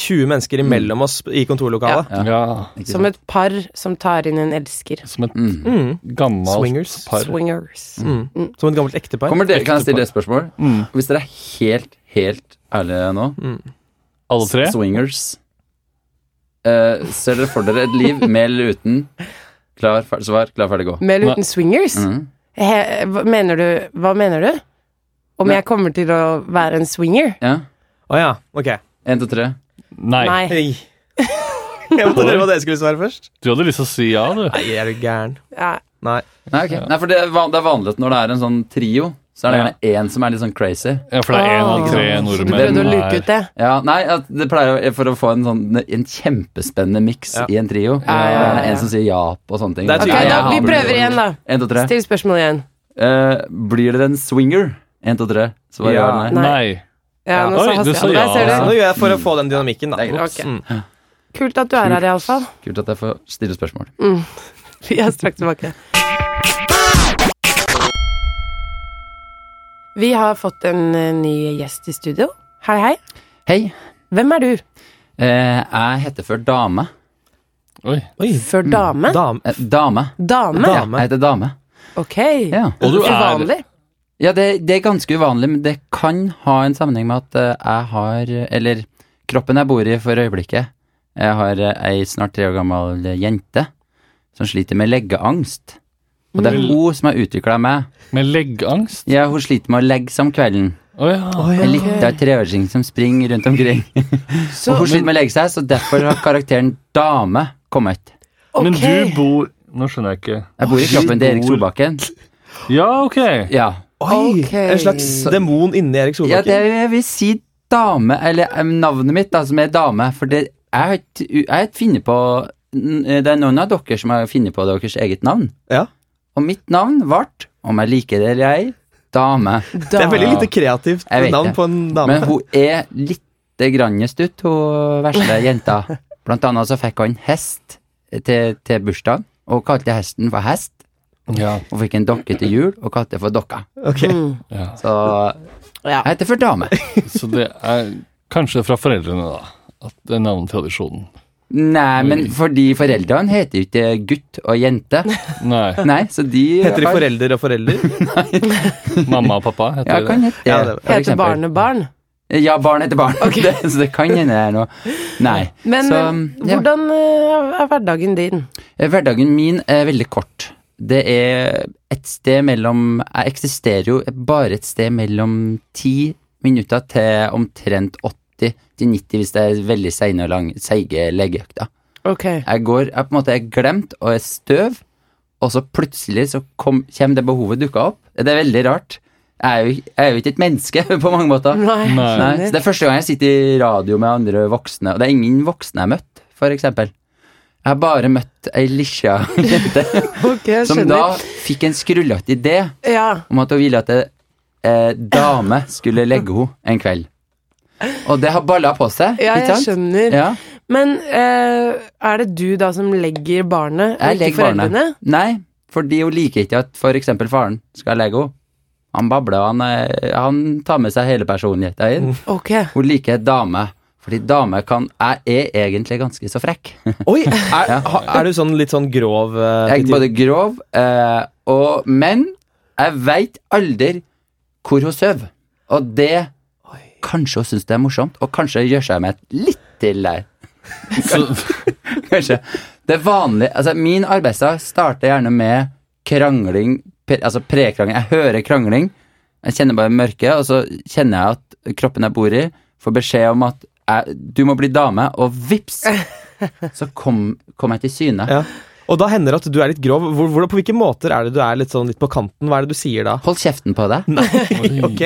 Speaker 2: 20 mennesker imellom oss i kontorlokalet.
Speaker 6: Ja.
Speaker 4: ja.
Speaker 6: Ikke
Speaker 1: Som
Speaker 6: sant?
Speaker 1: et par som tar inn en elsker.
Speaker 4: Som et
Speaker 6: Mm.
Speaker 2: Mm.
Speaker 4: gammelt
Speaker 2: Swingers.
Speaker 4: par.
Speaker 1: Swingers.
Speaker 2: Mm. Som et gammelt ektepar.
Speaker 6: Kommer dere, kan jeg stille et spørsmål?
Speaker 4: Mm.
Speaker 6: Hvis dere er helt, helt ærlige nå,
Speaker 4: Alle tre?
Speaker 6: swingers eh, Ser dere for dere et liv med eller uten? Klar, ferdig, svar, klar, ferdig, gå.
Speaker 1: Med eller
Speaker 4: Nei.
Speaker 1: uten swingers?
Speaker 6: Mm.
Speaker 1: He, hva, mener du, hva mener du? Om
Speaker 6: Nei.
Speaker 1: jeg kommer til å være en swinger?
Speaker 6: Ja?
Speaker 2: Å ja, ok.
Speaker 6: Én, to, tre.
Speaker 4: Nei.
Speaker 1: Nei.
Speaker 2: Hei. Jeg måtte høre hva dere skulle svare først.
Speaker 4: Du hadde lyst til å si ja, du.
Speaker 2: Nei, er du gæren?
Speaker 1: Ja.
Speaker 2: Nei.
Speaker 6: Nei, ok. Nei, for det er, van det er vanlig at når det er en sånn trio, så er det gjerne én som er litt sånn crazy.
Speaker 4: Ja, for det er én av
Speaker 1: Ah.
Speaker 4: tre
Speaker 1: Så
Speaker 4: nordmenn
Speaker 1: Du prøvde å
Speaker 4: er-
Speaker 1: luke ut det?
Speaker 6: Ja, nei, at det pleier å- For å få en, sånn, en kjempespennende miks
Speaker 2: Ja.
Speaker 6: i en trio.
Speaker 1: Ja, ja, ja,
Speaker 6: Det er
Speaker 1: ja.
Speaker 6: en som sier ja på og sånne ting.
Speaker 2: Det er
Speaker 1: Ok,
Speaker 2: Ja,
Speaker 1: da,
Speaker 2: ja,
Speaker 1: vi
Speaker 2: men-
Speaker 1: prøver igjen, da.
Speaker 6: En, to, tre.
Speaker 1: Still spørsmålet igjen.
Speaker 6: Eh, blir dere en swinger? En, to, tre. Svar ja
Speaker 2: Ja.
Speaker 6: eller nei.
Speaker 4: Nei.
Speaker 1: Ja, nå
Speaker 4: Oi,
Speaker 1: sa
Speaker 4: du
Speaker 1: Hasse
Speaker 4: sa
Speaker 1: ja. Der
Speaker 4: ja.
Speaker 1: ser
Speaker 2: Så
Speaker 1: du.
Speaker 2: nå gjør jeg for å få den dynamikken, da.
Speaker 6: Det er greit.
Speaker 2: Ops. Mm.
Speaker 1: Kult at du er her, iallfall.
Speaker 6: Kult at jeg får stille spørsmål.
Speaker 1: Vi er straks tilbake. Vi har fått en eh, ny gjest i studio. Hei, hei.
Speaker 6: Hei.
Speaker 1: Hvem er du?
Speaker 6: Eh, jeg heter før Dame.
Speaker 4: Oi.
Speaker 2: Oi,
Speaker 1: Før dame?
Speaker 2: dame.
Speaker 6: Eh, dame.
Speaker 1: Dame?
Speaker 6: Ja, jeg heter Dame.
Speaker 1: Ok.
Speaker 6: Ja,
Speaker 4: Og du er
Speaker 1: Uvanlig.
Speaker 6: ja det, det er ganske uvanlig, men det kan ha en sammenheng med at eh, jeg har Eller kroppen jeg bor i for øyeblikket. Jeg har eh, ei snart tre år gammel eh, jente som sliter med leggeangst. Og det er hun som har utvikla meg.
Speaker 4: med leggangst?
Speaker 6: Ja, hun sliter med å legge seg om kvelden.
Speaker 4: Å ja.
Speaker 6: En lita treåring som springer rundt omkring.
Speaker 1: Så,
Speaker 6: og hun sliter med å legge seg, så derfor har karakteren dame kommet.
Speaker 1: ok.
Speaker 4: Men du bor Nå skjønner jeg ikke.
Speaker 6: Jeg bor i kroppen til Erik Solbakken.
Speaker 4: Ja, ok.
Speaker 6: Ja.
Speaker 2: Oi,
Speaker 1: Ok.
Speaker 2: En slags demon inni Erik
Speaker 6: ja, det
Speaker 2: Solbakken.
Speaker 6: jeg vil si dame, eller eh, navnet mitt da, som er dame, for det er et, er et finne på n- eh, Det er noen av dere som har funnet på deres eget navn.
Speaker 2: Ja.
Speaker 6: Og mitt navn ble, om jeg liker det eller ei, dame.
Speaker 2: Det er veldig
Speaker 1: Dame.
Speaker 2: lite kreativt
Speaker 6: Jeg vet
Speaker 2: navn
Speaker 6: det.
Speaker 2: på en dame.
Speaker 6: Men hun er litt grann stutt, hun vesle jenta. Blant annet så fikk hun en hest til, til bursdagen, og kalte hesten for hest.
Speaker 4: Ja.
Speaker 6: Hun fikk en dokke til jul, og kalte det for dokka.
Speaker 2: Ok.
Speaker 6: Så
Speaker 1: Ja.
Speaker 6: jeg heter for dame.
Speaker 4: Så det er kanskje fra foreldrene, da. At det er navnetradisjonen.
Speaker 6: Nei, men fordi foreldrene heter jo ikke gutt og jente.
Speaker 4: Nei.
Speaker 6: Nei, så de
Speaker 2: Heter de
Speaker 6: har-
Speaker 2: forelder og forelder?
Speaker 4: Mamma og pappa heter
Speaker 6: Ja,
Speaker 4: det.
Speaker 6: kan hete
Speaker 2: Ja, det er det.
Speaker 6: for
Speaker 1: Heter
Speaker 6: eksempel.
Speaker 1: barnebarn.
Speaker 6: Ja, barn heter barn. Det, så det kan hende det er noe Nei.
Speaker 1: Men
Speaker 6: så, um,
Speaker 1: eh,
Speaker 6: ja.
Speaker 1: hvordan eh, er hverdagen din?
Speaker 6: Eh, Hverdagen min er veldig kort. Det er et sted mellom Jeg eksisterer jo bare et sted mellom ti minutter til omtrent 80 til 90 hvis det er veldig seine og lang, seige legeøkter.
Speaker 1: Ok.
Speaker 6: Jeg går jeg på en måte er glemt og er støv, og så plutselig så kom, kommer det behovet dukka opp. Det er veldig rart. Jeg er jo, jeg er jo ikke et menneske på mange måter.
Speaker 1: Nei, jeg
Speaker 6: Nei, så
Speaker 1: skjønner.
Speaker 6: det er første gang jeg sitter i radio med andre voksne, og det er ingen voksne jeg har møtt, for eksempel. Jeg har bare møtt ei lisja jente
Speaker 1: Ok, jeg
Speaker 6: som da
Speaker 1: skjønner.
Speaker 6: fikk en skrullete idé
Speaker 1: Ja.
Speaker 6: om at hun ville at ei eh, dame skulle legge henne en kveld. Og det har balla på seg,
Speaker 1: Ja,
Speaker 6: ikke
Speaker 1: jeg
Speaker 6: sant?
Speaker 1: skjønner.
Speaker 6: Ja,
Speaker 1: Men eh, er det du da som legger barnet, og
Speaker 6: jeg
Speaker 1: ikke
Speaker 6: legger
Speaker 1: foreldrene?
Speaker 6: barnet. Nei, fordi hun liker ikke at for eksempel faren skal legge henne. Han babler, han, eh, han tar med seg hele personligheten inn.
Speaker 1: Ok.
Speaker 6: Hun liker dame, fordi dame kan Jeg er egentlig ganske så frekk.
Speaker 2: Oi! Er, ha- er du sånn litt sånn grov eh,
Speaker 6: Jeg er
Speaker 2: til-
Speaker 6: både grov, eh, og, men jeg veit aldri hvor hun sover. Og det Kanskje hun syns det er morsomt, og kanskje gjør seg med et litt til der. Kanskje. Det vanlige Altså, min arbeidsdag starter gjerne med krangling, pre, altså prekrangling. Jeg hører krangling, jeg kjenner bare mørket, og så kjenner jeg at kroppen jeg bor i, får beskjed om at jeg, du må bli dame, og vips, så kom, kom jeg til syne.
Speaker 2: Ja. Og da hender det at du er litt grov. Hvor, hvor, på hvilke måter er det du er litt sånn litt på kanten? Hva er det du sier da?
Speaker 6: Hold kjeften på deg.
Speaker 2: Nei,
Speaker 6: Mm.
Speaker 2: ok!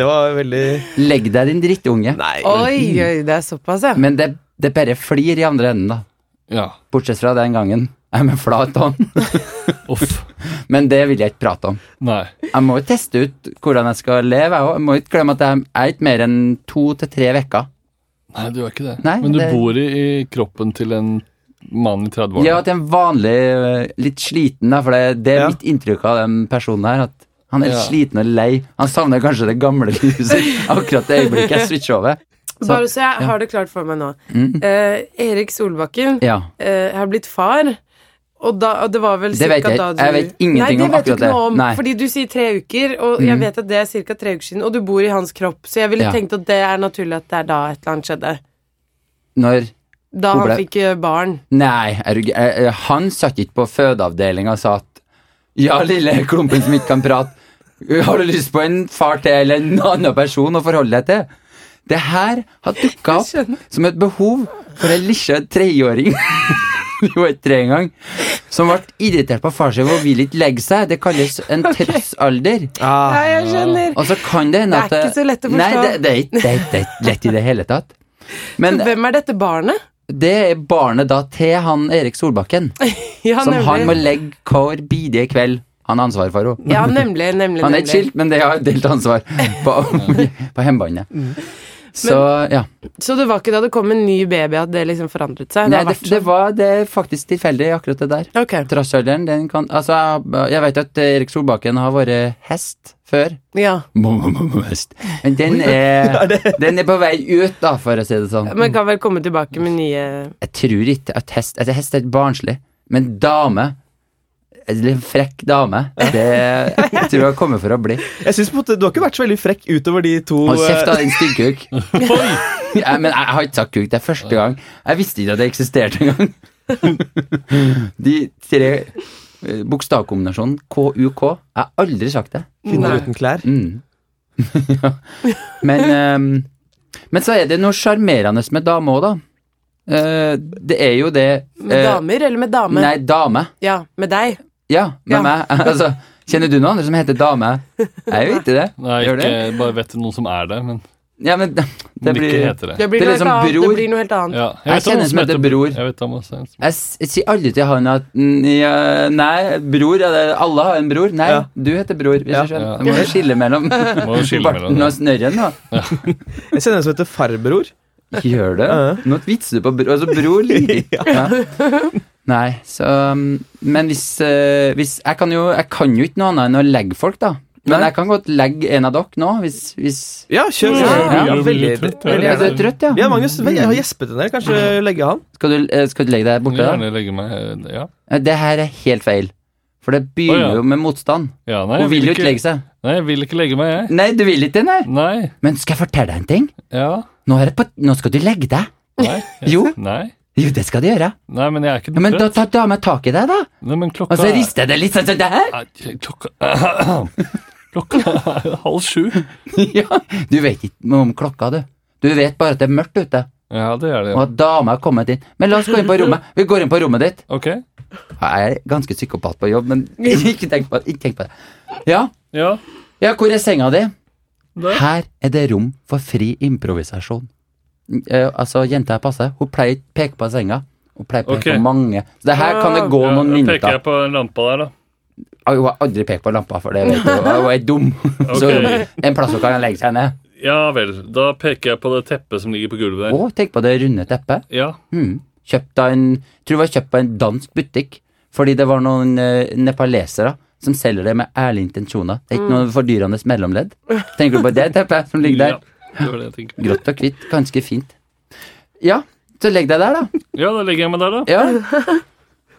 Speaker 2: Det var veldig
Speaker 6: Legg deg, din drittunge.
Speaker 2: Nei.
Speaker 1: Oi, oi, det er såpass, ja.
Speaker 6: Men det, det bare flir i andre enden, da.
Speaker 4: Ja.
Speaker 6: Bortsett fra den gangen jeg er med flat hånd.
Speaker 4: Uff.
Speaker 6: Men det vil jeg ikke prate om.
Speaker 4: Nei.
Speaker 6: Jeg må jo teste ut hvordan jeg skal leve, jeg òg. Jeg må ikke glemme at jeg er ikke mer enn to til tre uker.
Speaker 4: Nei, du er ikke det.
Speaker 6: Nei,
Speaker 4: Men du
Speaker 6: det-
Speaker 4: bor i, i kroppen til en mann i 30-årene.
Speaker 6: Ja, til en vanlig eh, litt sliten, da, for det, det er
Speaker 2: Ja.
Speaker 6: mitt inntrykk av den personen her. at han er
Speaker 4: Ja.
Speaker 6: sliten og lei. Han savner kanskje det gamle livet sitt akkurat det øyeblikket jeg switcher over. Så- Mm.
Speaker 1: Bare så jeg har det klart for meg nå. Eh, Erik Solbakken
Speaker 6: Ja.
Speaker 1: eh, har blitt far. Og, da, og det var vel
Speaker 6: Det
Speaker 1: cirka
Speaker 6: vet jeg-
Speaker 1: da du
Speaker 6: jeg vet ingenting
Speaker 1: Nei, det
Speaker 6: om
Speaker 1: vet du
Speaker 6: akkurat
Speaker 1: ikke noe
Speaker 6: det.
Speaker 1: om,
Speaker 6: Nei. Mm.
Speaker 1: Fordi du sier tre uker, og jeg vet at det er ca. tre uker siden, og du bor i hans kropp, så jeg ville
Speaker 6: Ja.
Speaker 1: tenkt at det er naturlig at det er da et eller annet skjedde.
Speaker 6: Når
Speaker 1: Da
Speaker 6: Hun
Speaker 1: han
Speaker 6: ble-
Speaker 1: fikk eh, barn.
Speaker 6: Nei, er du g- eh, eh, han satt ikke på fødeavdelinga og sa at Ja, lille klumpen som ikke kan prate, har du lyst på en far til eller en annen person å forholde deg til? Det her har dukka
Speaker 1: Jeg
Speaker 6: opp
Speaker 1: skjønner.
Speaker 6: som et behov for en lille treåring Hun var ikke tre engang. Som ble irritert på far sin og vil ikke legge seg. Det kalles en trossalder.
Speaker 2: Ah,
Speaker 1: Nei, jeg skjønner.
Speaker 6: Og så kan det hende
Speaker 1: Det er
Speaker 6: at
Speaker 1: ikke så lett å
Speaker 6: Nei,
Speaker 1: forstå.
Speaker 6: det, det, er ikke- det, er ikke- det er ikke lett i det hele tatt. Men
Speaker 1: Hvem er dette barnet?
Speaker 6: det er barnet da til han Erik Solbakken.
Speaker 1: Ja,
Speaker 6: Som
Speaker 1: nemlig.
Speaker 6: han må legge hver bidige kveld han har ansvar for. henne.
Speaker 1: Ja, nemlig, nemlig,
Speaker 6: Han er
Speaker 1: nemlig.
Speaker 6: ikke skilt, men det har delt ansvar på, på hjembåndet.
Speaker 1: Mm.
Speaker 6: Så ja.
Speaker 1: Så det var ikke da det kom en ny baby at det liksom forandret seg?
Speaker 6: Nei,
Speaker 1: har
Speaker 6: det,
Speaker 1: vært
Speaker 6: det, var, det er faktisk tilfeldig, akkurat det der.
Speaker 1: sånn. Ok.
Speaker 6: Trassalderen, den kan Altså, jeg- jeg vet at Erik Solbakken har vært hest før.
Speaker 1: Ja.
Speaker 6: Hest. Men den er, den er på vei ut, da, for å si det sånn.
Speaker 1: Men kan vel komme tilbake med nye
Speaker 6: Jeg tror ikke at hest altså, Hest er et barnslig, men dame Eller en frekk dame, det jeg tror jeg kommer for å bli.
Speaker 2: jeg synes på en måte, Du har ikke vært så veldig frekk utover de to
Speaker 6: Hold kjeft, da,
Speaker 2: eh,
Speaker 6: din styggkuk. ja, men jeg, jeg har ikke sagt kuk. Det er første gang. Jeg visste ikke at det eksisterte engang. De tre eh, bokstavkombinasjonen KUK. Jeg har aldri sagt det.
Speaker 2: kvinner eh, uten klær.
Speaker 6: Mm. ja. Men ehm, Men så er det noe sjarmerende med dame òg, da. Eh, det er jo det
Speaker 1: Med
Speaker 6: eh,
Speaker 1: damer eller med dame?
Speaker 6: Nei, dame.
Speaker 1: Ja, med deg.
Speaker 6: Ja, med
Speaker 1: Ja.
Speaker 6: meg. altså, kjenner du noen andre som heter dame? Jeg gjør ikke det.
Speaker 4: Nei,
Speaker 6: Gjør
Speaker 4: ikke,
Speaker 6: det?
Speaker 4: bare vet noen som er det, men
Speaker 6: Ja, men det
Speaker 4: det blir... ikke
Speaker 6: blir
Speaker 4: heter det.
Speaker 1: Det blir,
Speaker 6: Det er
Speaker 1: noe
Speaker 6: liksom
Speaker 1: helt annet.
Speaker 6: bror.
Speaker 1: det blir noe helt annet.
Speaker 4: Ja.
Speaker 6: Jeg
Speaker 4: vet om
Speaker 6: kjenner
Speaker 4: noen
Speaker 6: en som heter Bror.
Speaker 4: Jeg vet om også en som-
Speaker 6: Jeg s- jeg sier aldri til han at mm, ja, Nei, bror ja, det- Alle har en bror. Nei,
Speaker 2: Ja.
Speaker 6: du heter bror. Hvis du skjønner.
Speaker 4: ja.
Speaker 6: Du må jo skille mellom
Speaker 4: må jo skille
Speaker 6: barten
Speaker 4: mellom det.
Speaker 6: og snørren, da.
Speaker 2: Jeg kjenner en som heter farbror.
Speaker 6: Gjør det?
Speaker 2: Ja.
Speaker 6: Nå vitser du på bror. Altså, bror liker ikke. Ja. Nei, så um, Men hvis, eh, hvis jeg, kan jo, jeg kan jo ikke noe annet enn å legge folk, da. Men
Speaker 2: Nei.
Speaker 6: jeg kan godt legge en av dere nå, hvis, hvis
Speaker 2: Ja, kjør.
Speaker 1: Ja,
Speaker 2: kjør.
Speaker 4: jeg er
Speaker 2: veldig,
Speaker 4: veldig trøtt, jeg.
Speaker 2: veldig
Speaker 6: Er du
Speaker 2: gjerne.
Speaker 6: trøtt, ja?
Speaker 2: Ja, Magnus, vel, jeg har gjespet en del. Kanskje legge han?
Speaker 6: Skal du, eh, skal du legge deg borte? da?
Speaker 4: Gjerne legge meg eh, Ja,
Speaker 6: Det her er helt feil. For det begynner
Speaker 4: Å, ja.
Speaker 6: jo med motstand.
Speaker 4: ja nei,
Speaker 6: Hun
Speaker 4: jeg
Speaker 6: vil jo ikke legge seg.
Speaker 4: Nei, jeg vil ikke legge meg, jeg.
Speaker 6: Nei, du vil ikke, nei.
Speaker 4: Nei.
Speaker 6: Men skal jeg fortelle deg en ting?
Speaker 4: Ja.
Speaker 6: Nå, er det på, nå skal du legge deg.
Speaker 4: Nei.
Speaker 6: Jo.
Speaker 4: Nei.
Speaker 6: Jo, det skal du gjøre.
Speaker 4: Nei, men jeg er ikke
Speaker 6: Ja, men da
Speaker 4: trøtt.
Speaker 6: tar dama tak i deg, da.
Speaker 4: Nei, men klokka
Speaker 6: Og så
Speaker 4: er-
Speaker 6: rister jeg det litt sånn som det her.
Speaker 4: Nei, Klokka Klokka er halv sju.
Speaker 6: Ja. Du vet ikke om klokka, du. Du vet bare at det er mørkt ute,
Speaker 4: Ja, det er det.
Speaker 6: og at dama er kommet inn. Men la oss gå inn på rommet. Vi går inn på rommet ditt.
Speaker 4: Ok.
Speaker 6: Jeg er ganske psykopat på jobb, men ikke tenk på, ikke tenk på det. Ja.
Speaker 4: Ja.
Speaker 6: ja, hvor er senga di?
Speaker 4: Der.
Speaker 6: Her er det rom for fri improvisasjon. Eh, altså, jenta jeg passer, hun pleier ikke peke på senga. Hun pleier peke
Speaker 4: Ok.
Speaker 6: på mange. Så det her kan det gå
Speaker 4: Ja,
Speaker 6: noen
Speaker 4: da
Speaker 6: minutter.
Speaker 4: peker jeg på den lampa der, da.
Speaker 6: Ah, Hun har aldri pekt på lampa, for det vet hun. Hun er dum. Så
Speaker 4: Ok.
Speaker 6: en plass hun kan legge seg ned.
Speaker 4: Ja vel. Da peker jeg på det teppet som ligger på gulvet der.
Speaker 6: Å, tenk på det runde teppet.
Speaker 4: Ja.
Speaker 6: Mm. Kjøpt av en Tror det var kjøpt på en dansk butikk. Fordi det var noen eh, nepalesere som selger det med ærlige intensjoner. Det er
Speaker 4: Mm.
Speaker 6: ikke noe fordyrende mellomledd. Tenker du på det teppet som ligger der?
Speaker 4: Ja, det var det jeg tenkte.
Speaker 6: Grått og hvitt. Ganske fint. Ja, så legg deg der, da.
Speaker 4: Ja, da legger jeg meg der, da.
Speaker 6: Ja.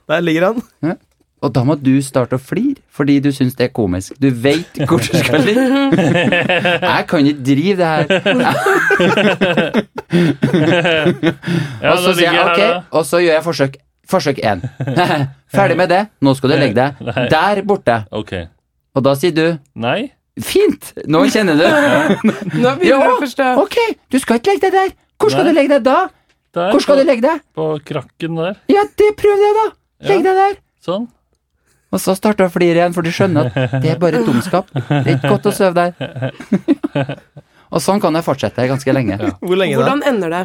Speaker 2: Der ligger han.
Speaker 6: Og da må du starte å flire, fordi du syns det er komisk. Du veit hvor du skal ligge. Jeg kan ikke drive det her.
Speaker 4: Ja,
Speaker 6: og så
Speaker 4: da
Speaker 6: sier
Speaker 4: ligger
Speaker 6: jeg
Speaker 4: jeg
Speaker 6: ok,
Speaker 4: her, da.
Speaker 6: og så gjør jeg forsøk. Forsøk én. Ferdig med det. Nå skal du legge deg der borte.
Speaker 4: Ok.
Speaker 6: Og da sier du
Speaker 4: Nei.
Speaker 6: Fint! Nå kjenner du.
Speaker 1: Nå begynner jeg å forstå.
Speaker 6: Ok, du skal ikke legge deg der. Hvor skal
Speaker 4: Nei.
Speaker 6: du legge deg da?
Speaker 4: Der.
Speaker 6: Hvor skal
Speaker 4: på,
Speaker 6: du legge deg?
Speaker 4: På krakken der.
Speaker 6: Ja, det prøv det, da. Legg deg der.
Speaker 4: Sånn.
Speaker 6: Og så starter du å flire igjen, for du skjønner at det er bare dumskap. Det er ikke godt å sove der. Og sånn kan jeg fortsette ganske lenge.
Speaker 2: Hvor lenge da?
Speaker 1: Hvordan ender det?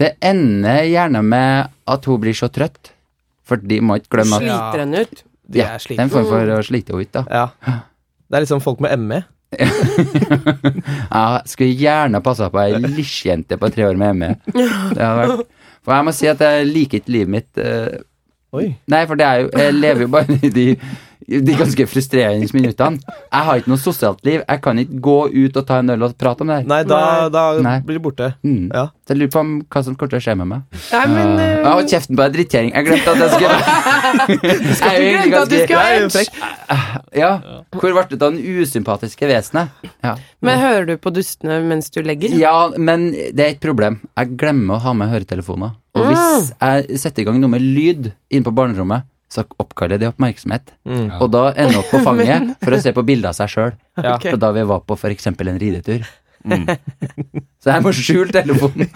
Speaker 6: Det ender gjerne med at hun blir så trøtt, for de må ikke glemme at
Speaker 2: Ja.
Speaker 1: Sliter den ut?
Speaker 2: De
Speaker 6: Ja, det
Speaker 2: er
Speaker 6: er en
Speaker 2: slitne.
Speaker 6: form for å slite henne ut, da.
Speaker 2: Ja. Det er liksom folk med ME.
Speaker 6: Jeg skulle gjerne passa på ei lisjjente på tre år med ME. Det hadde vært- For jeg må si at jeg liker ikke livet mitt eh,
Speaker 2: Oi.
Speaker 6: Nei, for det er jo Jeg lever jo bare i de, de ganske frustrerende minuttene. Jeg har ikke noe sosialt liv. Jeg kan ikke gå ut og ta en øl og prate om det her.
Speaker 2: Nei, da, da
Speaker 6: Nei.
Speaker 2: blir de borte.
Speaker 6: Mm.
Speaker 2: Ja.
Speaker 6: Så jeg lurer på om hva som kommer til å skje med meg.
Speaker 1: Nei, men eh,
Speaker 6: Jeg har kjeften på ei drittkjerring. Jeg glemte at jeg skulle Jeg er jo
Speaker 1: du
Speaker 6: egentlig
Speaker 1: glemte at du
Speaker 6: ganske-
Speaker 1: skulle ha
Speaker 2: Nei,
Speaker 1: edge.
Speaker 2: frekk.
Speaker 6: Ja. Hvor ble det av den usympatiske vesenet? Ja.
Speaker 1: Men hører du på dustene mens du legger?
Speaker 6: Ja, men det er et problem. Jeg glemmer å ha med høretelefoner. Og hvis jeg setter i gang noe med lyd inne på barnerommet, så oppkaller det oppmerksomhet. Og da ender jeg opp på fanget for å se på bilder av seg sjøl.
Speaker 2: Ja. Mm.
Speaker 6: Fra da vi var på f.eks. en ridetur. Så jeg må skjule telefonen.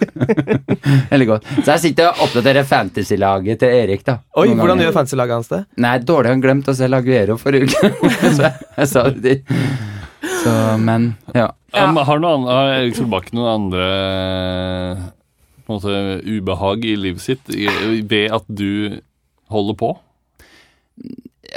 Speaker 6: Eller godt. Så jeg sitter og oppdaterer fantasy-laget til Erik, da.
Speaker 2: Oi,
Speaker 6: Noen
Speaker 2: hvordan
Speaker 6: ganger.
Speaker 2: gjør fancy-laget hans det?
Speaker 6: Nei, dårlig. Han glemte å se Laguero forrige uke. så jeg, jeg sa det til. Så, men Ja.
Speaker 4: Um, har, noe annet, har Erik Solbakken noen andre på en måte, ubehag i livet sitt i, ved at du holder på?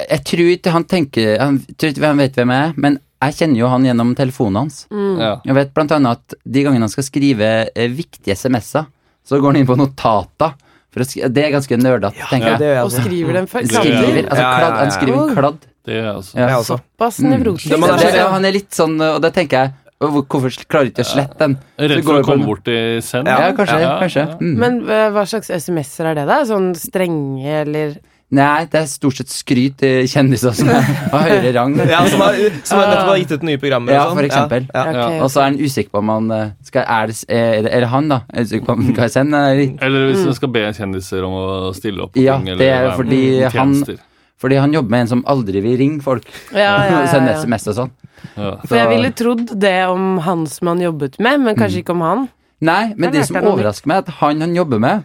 Speaker 6: jeg tror ikke han tenker Han tror ikke han vet hvem jeg er, men jeg kjenner jo han gjennom telefonen hans.
Speaker 4: Ja.
Speaker 6: Jeg vet blant annet at de gangene han skal skrive eh, viktige SMS-er, så går han inn på notater. For å skri det er ganske nerdete, tenker
Speaker 2: Ja, det
Speaker 6: jeg.
Speaker 2: gjør jeg
Speaker 1: Og
Speaker 2: også.
Speaker 1: skriver den først?
Speaker 4: Skriver.
Speaker 6: Skriver, altså
Speaker 2: Ja, ja, ja,
Speaker 6: kladd,
Speaker 2: ja.
Speaker 6: han skriver en kladd.
Speaker 4: Det er altså
Speaker 6: Ja.
Speaker 2: Jeg også.
Speaker 1: Såpass
Speaker 2: Det
Speaker 1: nevrotisk.
Speaker 2: må
Speaker 6: Så
Speaker 2: man
Speaker 6: Mm. det,
Speaker 2: er så-
Speaker 6: han er litt sånn, og da tenker jeg «Å, hvor- Hvorfor klarer du ikke å slette den? Så går
Speaker 4: Redd for
Speaker 6: jeg på
Speaker 4: å komme
Speaker 6: den.
Speaker 4: bort i send?
Speaker 6: Ja, kanskje.
Speaker 4: Ja,
Speaker 6: kanskje.
Speaker 4: ja.
Speaker 6: Mm.
Speaker 1: Men eh, hva slags SMS-er er det, da? Sånn strenge, eller
Speaker 6: Nei, det er stort sett skryt til kjendiser som er av høyere rang.
Speaker 2: Ja, som har, som har nettopp har gitt ut nye programmer.
Speaker 6: Ja, altså-
Speaker 2: og sånn.
Speaker 6: for eksempel.
Speaker 2: Ja, ja.
Speaker 1: Ok.
Speaker 6: Og så er han usikker på om han eh, skal, er, det, er, det, er det han, da? Er usikker på om han skal sende eller
Speaker 2: Mm.
Speaker 6: ikke.
Speaker 4: Eller hvis du skal be kjendiser om å stille opp på
Speaker 6: Mm. Ja,
Speaker 4: ting eller
Speaker 6: det er
Speaker 4: være med
Speaker 6: fordi
Speaker 4: i
Speaker 6: han-
Speaker 4: tjenester.
Speaker 6: Fordi han jobber med en som aldri vil ringe folk.
Speaker 1: Ja, ja, ja, ja.
Speaker 6: Sende SMS og sånn.
Speaker 4: Ja.
Speaker 1: For jeg ville trodd det om han som han jobbet med, men kanskje
Speaker 2: Mm.
Speaker 1: ikke om han.
Speaker 6: Nei, men
Speaker 1: Der
Speaker 6: det
Speaker 1: lærte
Speaker 6: som
Speaker 1: jeg noe nytt.
Speaker 6: overrasker meg, er at han han jobber med,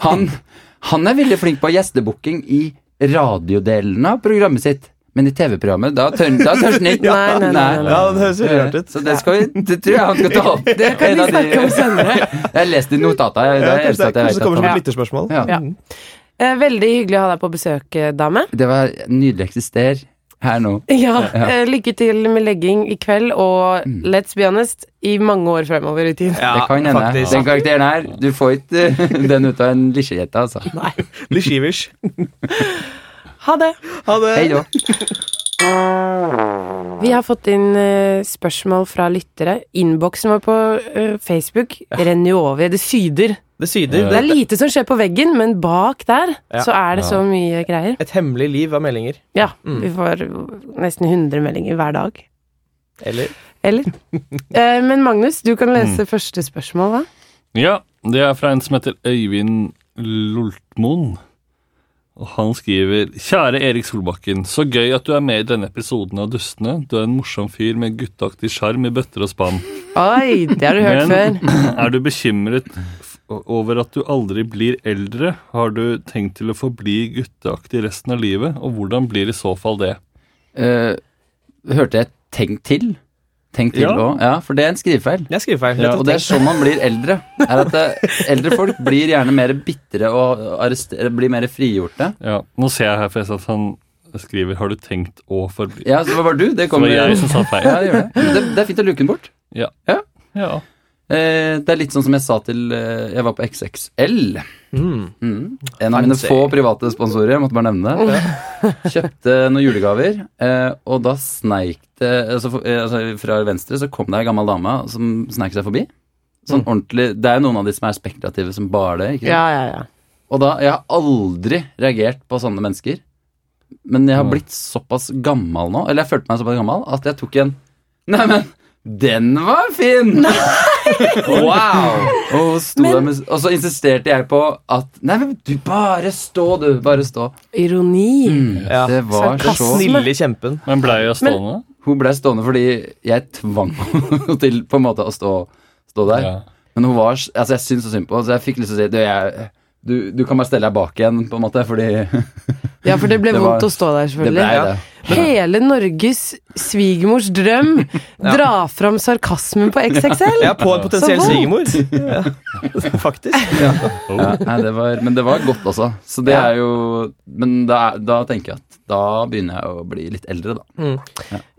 Speaker 6: han, han er veldig flink på gjestebooking i radiodelen av programmet sitt. Men i TV-programmet, da tør da tør han ikke. Eh,
Speaker 1: Nei, nei, nei, nei, nei.
Speaker 2: ja det høres veldig rart ut.
Speaker 6: Så det, skal vi, det tror jeg han skal ta opp. Det
Speaker 1: kan vi snakke om senere.
Speaker 6: Jeg har lest i notata. Jeg, det
Speaker 2: Ja,
Speaker 6: er det eneste at jeg
Speaker 2: kanskje, kanskje
Speaker 6: vet
Speaker 2: det kommer
Speaker 6: at
Speaker 2: som
Speaker 6: han-
Speaker 2: et lytterspørsmål. Mm.
Speaker 6: Ja.
Speaker 1: Ja. Eh, Veldig hyggelig å ha deg på besøk, eh, dame.
Speaker 6: Det var nydelig å eksistere her nå.
Speaker 1: Ja, eh, Lykke til med legging i kveld, og let's be honest, i mange år fremover i tid.
Speaker 2: Mm. Ja,
Speaker 6: det kan hende.
Speaker 2: faktisk.
Speaker 6: Den karakteren her, du får ikke eh, den ut av en lisjejette, altså.
Speaker 2: Litt skivers.
Speaker 1: Ha det!
Speaker 2: Ha det.
Speaker 6: Hei da.
Speaker 1: Vi har fått inn eh, spørsmål fra lyttere. Innboksen vår på eh, Facebook renner jo over. Det syder.
Speaker 2: Det syder.
Speaker 1: Det er
Speaker 2: Det,
Speaker 1: lite som skjer på veggen, men bak der
Speaker 2: Ja.
Speaker 1: så er det så mye greier.
Speaker 2: et hemmelig liv av meldinger.
Speaker 1: Ja,
Speaker 2: Mm.
Speaker 1: vi får nesten 100 meldinger hver dag.
Speaker 2: Eller
Speaker 1: Eller? Eh, men Magnus, du kan
Speaker 2: Mm.
Speaker 1: lese første spørsmål, hva?
Speaker 4: Ja, det er fra en som heter Øyvind Loltmoen. Og han skriver Kjære Erik Solbakken, så gøy at du er med i denne episoden av Dustene. Du er en morsom fyr med gutteaktig sjarm i bøtter og spann.
Speaker 1: Oi, det har du hørt
Speaker 4: Men-
Speaker 1: før.
Speaker 4: Er du bekymret f- over at du aldri blir eldre? Har du tenkt til å forbli gutteaktig resten av livet, og hvordan blir i så fall det?
Speaker 6: Eh, hørte jeg 'tenk til'? Tenk til
Speaker 4: Ja.
Speaker 6: òg? Ja. for det er en skrivefeil.
Speaker 2: Jeg skriver feil.
Speaker 6: og det er sånn man blir eldre. Er at eh, Eldre folk blir gjerne mer bitre og arrestere- blir mer frigjorte.
Speaker 4: Ja, Nå ser jeg her forresten at han skriver 'Har du tenkt å forbli'?
Speaker 6: Ja, så det var du. Det
Speaker 4: Det var
Speaker 6: kommer
Speaker 4: jeg som sa feil.
Speaker 6: Ja, det, gjør det. Det, det er fint å luke den bort.
Speaker 4: Ja.
Speaker 6: Eh, det er litt sånn som jeg sa til eh, Jeg var på XXL.
Speaker 2: Mm.
Speaker 6: Mm. En av mine
Speaker 2: Fancy.
Speaker 6: få private sponsorer, jeg måtte bare nevne det. Kjøpte noen julegaver, eh, og da sneik det altså, for- eh, altså, Fra venstre så kom det ei gammel dame som sneik seg forbi.
Speaker 2: Mm.
Speaker 6: Sånn ordentlig, Det er jo noen av de som er spekulative som bare det. Ikke? sant?
Speaker 1: Ja, ja, ja.
Speaker 6: Og da, Jeg har aldri reagert på sånne mennesker, men jeg har blitt såpass gammel nå, eller jeg følte meg såpass gammel, at jeg tok en Neimen, den var fin! wow! Og, sto der med, og så insisterte jeg på at Nei, men du, bare stå, du. Bare stå.
Speaker 1: Ironi.
Speaker 6: Mm.
Speaker 2: Ja.
Speaker 6: Det var så
Speaker 1: Sarkasme.
Speaker 2: Snille kjempen.
Speaker 4: Men blei jeg stående?
Speaker 6: Hun ble stående fordi jeg tvang henne til på en måte å stå, stå der.
Speaker 4: Ja.
Speaker 6: Men hun var s- Altså, jeg syntes så synd på henne, så jeg fikk lyst til å si du, jeg, du, du kan bare stelle deg bak igjen, på en måte, fordi
Speaker 1: Ja, for det ble
Speaker 6: Det var-
Speaker 1: vondt å stå der,
Speaker 6: det
Speaker 1: selvfølgelig.
Speaker 6: blei det.
Speaker 1: Hele Norges svigermors drøm dra fram sarkasmen på XXL.
Speaker 2: Ja, på en potensiell
Speaker 1: Så
Speaker 2: svigermor. Ja. Faktisk.
Speaker 6: Ja, nei, det var, men det var godt også. Så det er jo Men da, da tenker jeg at da begynner jeg å bli litt eldre, da.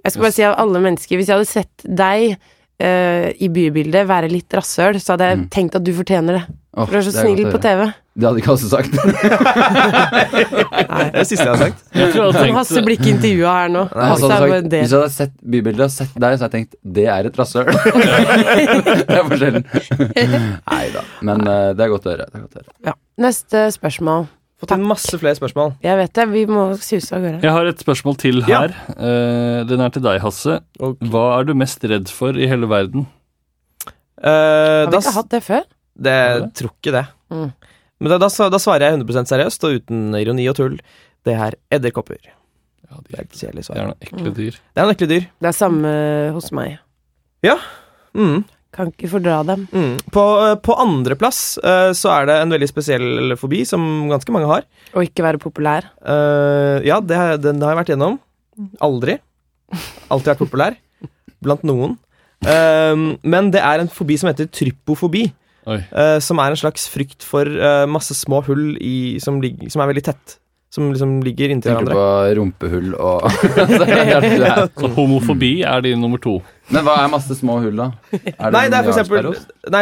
Speaker 1: Jeg skal bare si av alle mennesker Hvis jeg hadde sett deg eh, i bybildet være litt rasshøl, så hadde jeg tenkt at du fortjener det.
Speaker 6: Åh,
Speaker 1: For du er så
Speaker 6: Mm. det godt
Speaker 1: snill
Speaker 6: å
Speaker 1: på
Speaker 6: høre.
Speaker 1: TV.
Speaker 6: Det hadde ikke Hasse sagt.
Speaker 2: Det er det siste jeg har sagt.
Speaker 4: Jeg tror jeg hadde
Speaker 1: Som Hasse
Speaker 4: tenkt
Speaker 1: blir ikke intervjua her nå.
Speaker 6: Hasse
Speaker 1: Hasse
Speaker 6: hadde
Speaker 1: er
Speaker 6: sagt
Speaker 1: bare det.
Speaker 6: hvis jeg hadde sett bybildet og sett deg, så hadde jeg tenkt det er et rasshøl. det er forskjellen. Nei da. Men eh, det er godt å høre. Det er godt å høre.
Speaker 1: Ja. Neste spørsmål.
Speaker 2: Fått inn masse flere spørsmål.
Speaker 1: Jeg vet det, vi må suse av gårde.
Speaker 4: Jeg har et spørsmål til
Speaker 2: Ja.
Speaker 4: her. Eh, den er til deg, Hasse.
Speaker 2: Ok.
Speaker 4: Hva er du mest redd for i hele verden?
Speaker 2: Eh,
Speaker 1: Har vi
Speaker 2: da,
Speaker 1: ikke
Speaker 2: s-
Speaker 1: hatt det før?
Speaker 2: det jeg tror ikke det.
Speaker 1: Mm.
Speaker 2: Men da, da, s- da svarer jeg 100 seriøst og uten ironi og tull. Det er edderkopper.
Speaker 4: Ja, de
Speaker 2: Det er et kjedelig
Speaker 4: Det er
Speaker 2: svar.
Speaker 4: noen ekle dyr.
Speaker 2: Det er en ekle dyr.
Speaker 1: Det er samme hos meg.
Speaker 2: Mm.
Speaker 1: Kan ikke fordra dem.
Speaker 2: Mm. På, på andreplass uh, så er det en veldig spesiell fobi som ganske mange har.
Speaker 1: Og ikke være populær.
Speaker 2: Eh, ja, det, har- den har jeg vært gjennom. Aldri. Alltid vært populær. Blant noen. Eh, men det er en fobi som heter trypofobi.
Speaker 4: Oi.
Speaker 2: eh, som er en slags frykt for eh, masse små hull i, som, ligger- som er veldig tett. Som liksom ligger inntil
Speaker 6: Tenker du
Speaker 2: hverandre.
Speaker 6: på rumpehull og altså, det er-
Speaker 4: Så homofobi er din nummer to.
Speaker 6: Men hva er masse små hull, da? Er
Speaker 2: Nei, det er for eksempel
Speaker 6: milliardsperros?
Speaker 2: nei,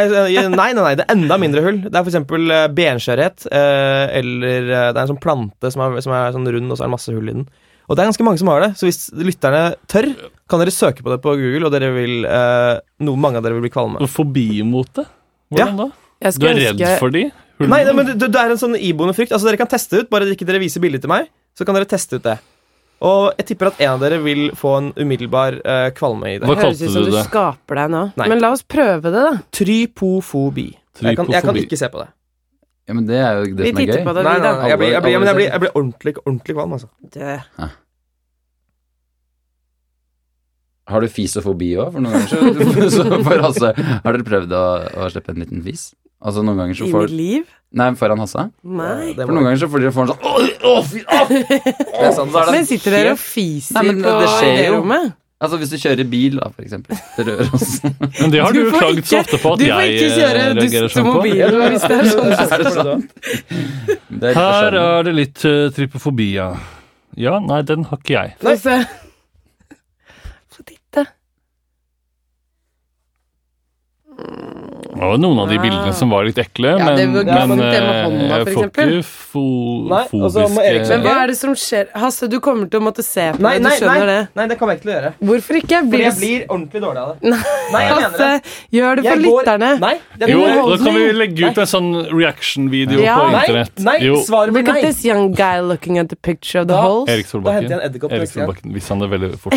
Speaker 2: nei, nei, nei, det er enda mindre hull. Det er for eksempel eh, benskjørhet, eh, eller eh, det er en sånn plante som er, som er sånn rund, og så er det masse hull i den. Og det er ganske mange som har det, så hvis lytterne tør, kan dere søke på det på Google, og dere vil eh, noe mange av dere vil bli kvalme av.
Speaker 4: Og Fobi mot det? Hvordan da?
Speaker 1: Jeg
Speaker 4: Du
Speaker 1: skulle
Speaker 4: er redd
Speaker 1: ønske-
Speaker 4: for de? Hullene?
Speaker 2: Nei, nei, men det, det er en sånn iboende frykt. Altså, Dere kan teste det ut, bare ikke dere viser bildet til meg. Så kan dere teste ut det. Og jeg tipper at en av dere vil få en umiddelbar eh, kvalme i det.
Speaker 4: Hva
Speaker 1: Det høres
Speaker 4: kalte
Speaker 1: ut som
Speaker 4: du
Speaker 1: du
Speaker 4: det?
Speaker 1: skaper deg nå.
Speaker 2: Nei.
Speaker 1: Men la oss prøve det, da.
Speaker 2: Trypofobi. Jeg kan, jeg kan
Speaker 4: Trypofobi.
Speaker 2: ikke se på det.
Speaker 6: Ja, men det er jo det
Speaker 1: Vi
Speaker 6: som er
Speaker 1: titter
Speaker 6: gøy.
Speaker 1: på det,
Speaker 2: Nei, nei,
Speaker 1: vi, da.
Speaker 2: nei, jeg blir, jeg blir, jeg blir, jeg blir, jeg blir ordentlig, ordentlig kvalm, altså.
Speaker 1: Det-
Speaker 6: Har du fisofobi òg? For noen ganger så, så for Hasse Har dere prøvd å, å slippe en liten fis? Altså noen ganger så
Speaker 1: I mitt
Speaker 6: får
Speaker 1: liv?
Speaker 6: Nei, foran Hasse.
Speaker 1: Nei.
Speaker 2: Det
Speaker 6: For
Speaker 2: må-
Speaker 6: noen ganger så får dere få en sånn Åh, åh, fy, åh! sånn
Speaker 2: det er sant.
Speaker 1: Men sitter dere og
Speaker 6: Nei,
Speaker 1: fiser
Speaker 6: men det-
Speaker 1: på
Speaker 6: det skjer jo.
Speaker 1: rommet?
Speaker 6: Altså hvis du kjører bil, da, for eksempel. Til Røros.
Speaker 4: Men det har du
Speaker 1: Du
Speaker 4: jo
Speaker 1: får
Speaker 4: klagd så
Speaker 1: ikke-
Speaker 4: ofte på at
Speaker 1: Du får
Speaker 4: jeg
Speaker 1: ikke
Speaker 4: eh,
Speaker 1: kjøre
Speaker 4: reagerer
Speaker 1: dust til
Speaker 4: sånn på.
Speaker 1: mobilen hvis det er sånn.
Speaker 2: Er
Speaker 6: Det
Speaker 2: det sant?
Speaker 6: er litt
Speaker 4: Her
Speaker 6: forskjellig.
Speaker 4: er det litt uh, trypofobi, ja. Ja, nei, den har ikke jeg.
Speaker 1: Få se. Få titte.
Speaker 4: Det var noen av de
Speaker 1: Ah.
Speaker 4: bildene som var litt ekle,
Speaker 1: Ja, det
Speaker 4: men,
Speaker 1: var
Speaker 4: men
Speaker 1: grusomt, det med
Speaker 4: eh,
Speaker 1: hånda, for
Speaker 4: jeg får
Speaker 1: eksempel.
Speaker 4: ikke fo
Speaker 2: Nei, og så må Erik
Speaker 4: fobiske
Speaker 1: Men hva er det som skjer? Hasse, du kommer til å måtte se på
Speaker 2: Nei,
Speaker 1: meg. Du
Speaker 2: nei, nei,
Speaker 1: skjønner det.
Speaker 2: nei, det kommer jeg ikke til å gjøre.
Speaker 1: Hvorfor ikke?
Speaker 2: Fordi jeg
Speaker 1: det-
Speaker 2: blir ordentlig dårlig av det. Nei, jeg mener
Speaker 1: Hasse,
Speaker 2: det.
Speaker 1: gjør det for
Speaker 2: Jeg går-
Speaker 1: lytterne.
Speaker 2: Nei, det er
Speaker 4: Jo,
Speaker 2: min
Speaker 4: da kan vi
Speaker 2: holdning.
Speaker 4: legge ut en sånn reaction-video
Speaker 1: Ja.
Speaker 4: på
Speaker 2: Nei,
Speaker 4: internett.
Speaker 2: nei,
Speaker 4: jo,
Speaker 2: svaret blir
Speaker 1: Look at
Speaker 2: nei.
Speaker 1: this young guy looking at the picture of the
Speaker 2: Da-
Speaker 1: holes.
Speaker 4: Erik
Speaker 2: Da henter jeg
Speaker 4: Solbakken.
Speaker 2: en edderkopp
Speaker 4: Erik
Speaker 2: neste gang.
Speaker 4: Solbakken, Hvis han er veldig fort.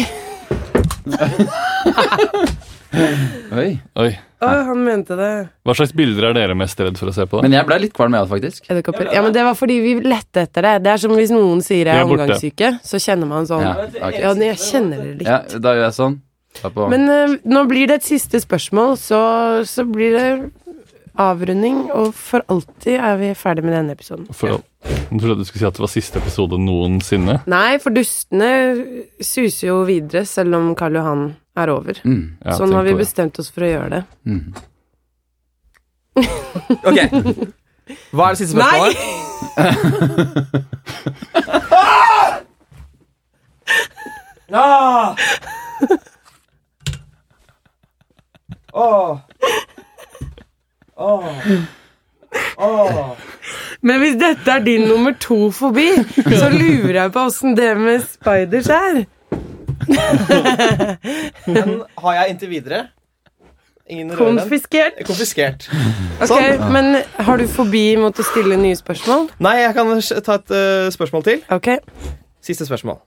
Speaker 6: Oi.
Speaker 4: Oi.
Speaker 1: Å, han mente det.
Speaker 4: Hva slags bilder er dere mest redd for å se på? da?
Speaker 6: Men jeg ble litt kvalm av det, faktisk.
Speaker 1: Edderkopper. Ja, men det var fordi vi lette etter det. Det er som hvis noen sier jeg
Speaker 4: De
Speaker 1: er
Speaker 4: er borte.
Speaker 1: omgangssyke, så kjenner man sånn
Speaker 6: Ja,
Speaker 1: Ja,
Speaker 6: ok.
Speaker 1: men jeg kjenner det litt.
Speaker 6: ja da gjør jeg sånn. Ta på.
Speaker 1: Men eh, nå blir det et siste spørsmål, så, så blir det avrunding, og for alltid er vi ferdig med denne episoden.
Speaker 4: For, jeg trodde du skulle si at det var siste episode noensinne.
Speaker 1: Nei, for dustene suser jo videre selv om Karl Johan er over.
Speaker 6: mm.
Speaker 4: Ja,
Speaker 1: sånn
Speaker 4: tenk
Speaker 1: har vi
Speaker 4: på det.
Speaker 1: bestemt oss for å gjøre det.
Speaker 6: Mm.
Speaker 2: Ok. Hva er det siste spørsmålet? Ah! Åh. Åh. Åh.
Speaker 1: Men hvis dette er din nummer to fobi, så lurer jeg på åssen det med spiders er.
Speaker 2: Den har jeg inntil videre. Ingen rører den.
Speaker 1: Konfiskert.
Speaker 2: Konfiskert.
Speaker 1: Ok,
Speaker 4: Sånn.
Speaker 1: Men har du fobi mot å stille nye spørsmål?
Speaker 2: Nei, jeg kan sj- ta et eh, spørsmål til.
Speaker 1: Ok.
Speaker 2: Siste spørsmål.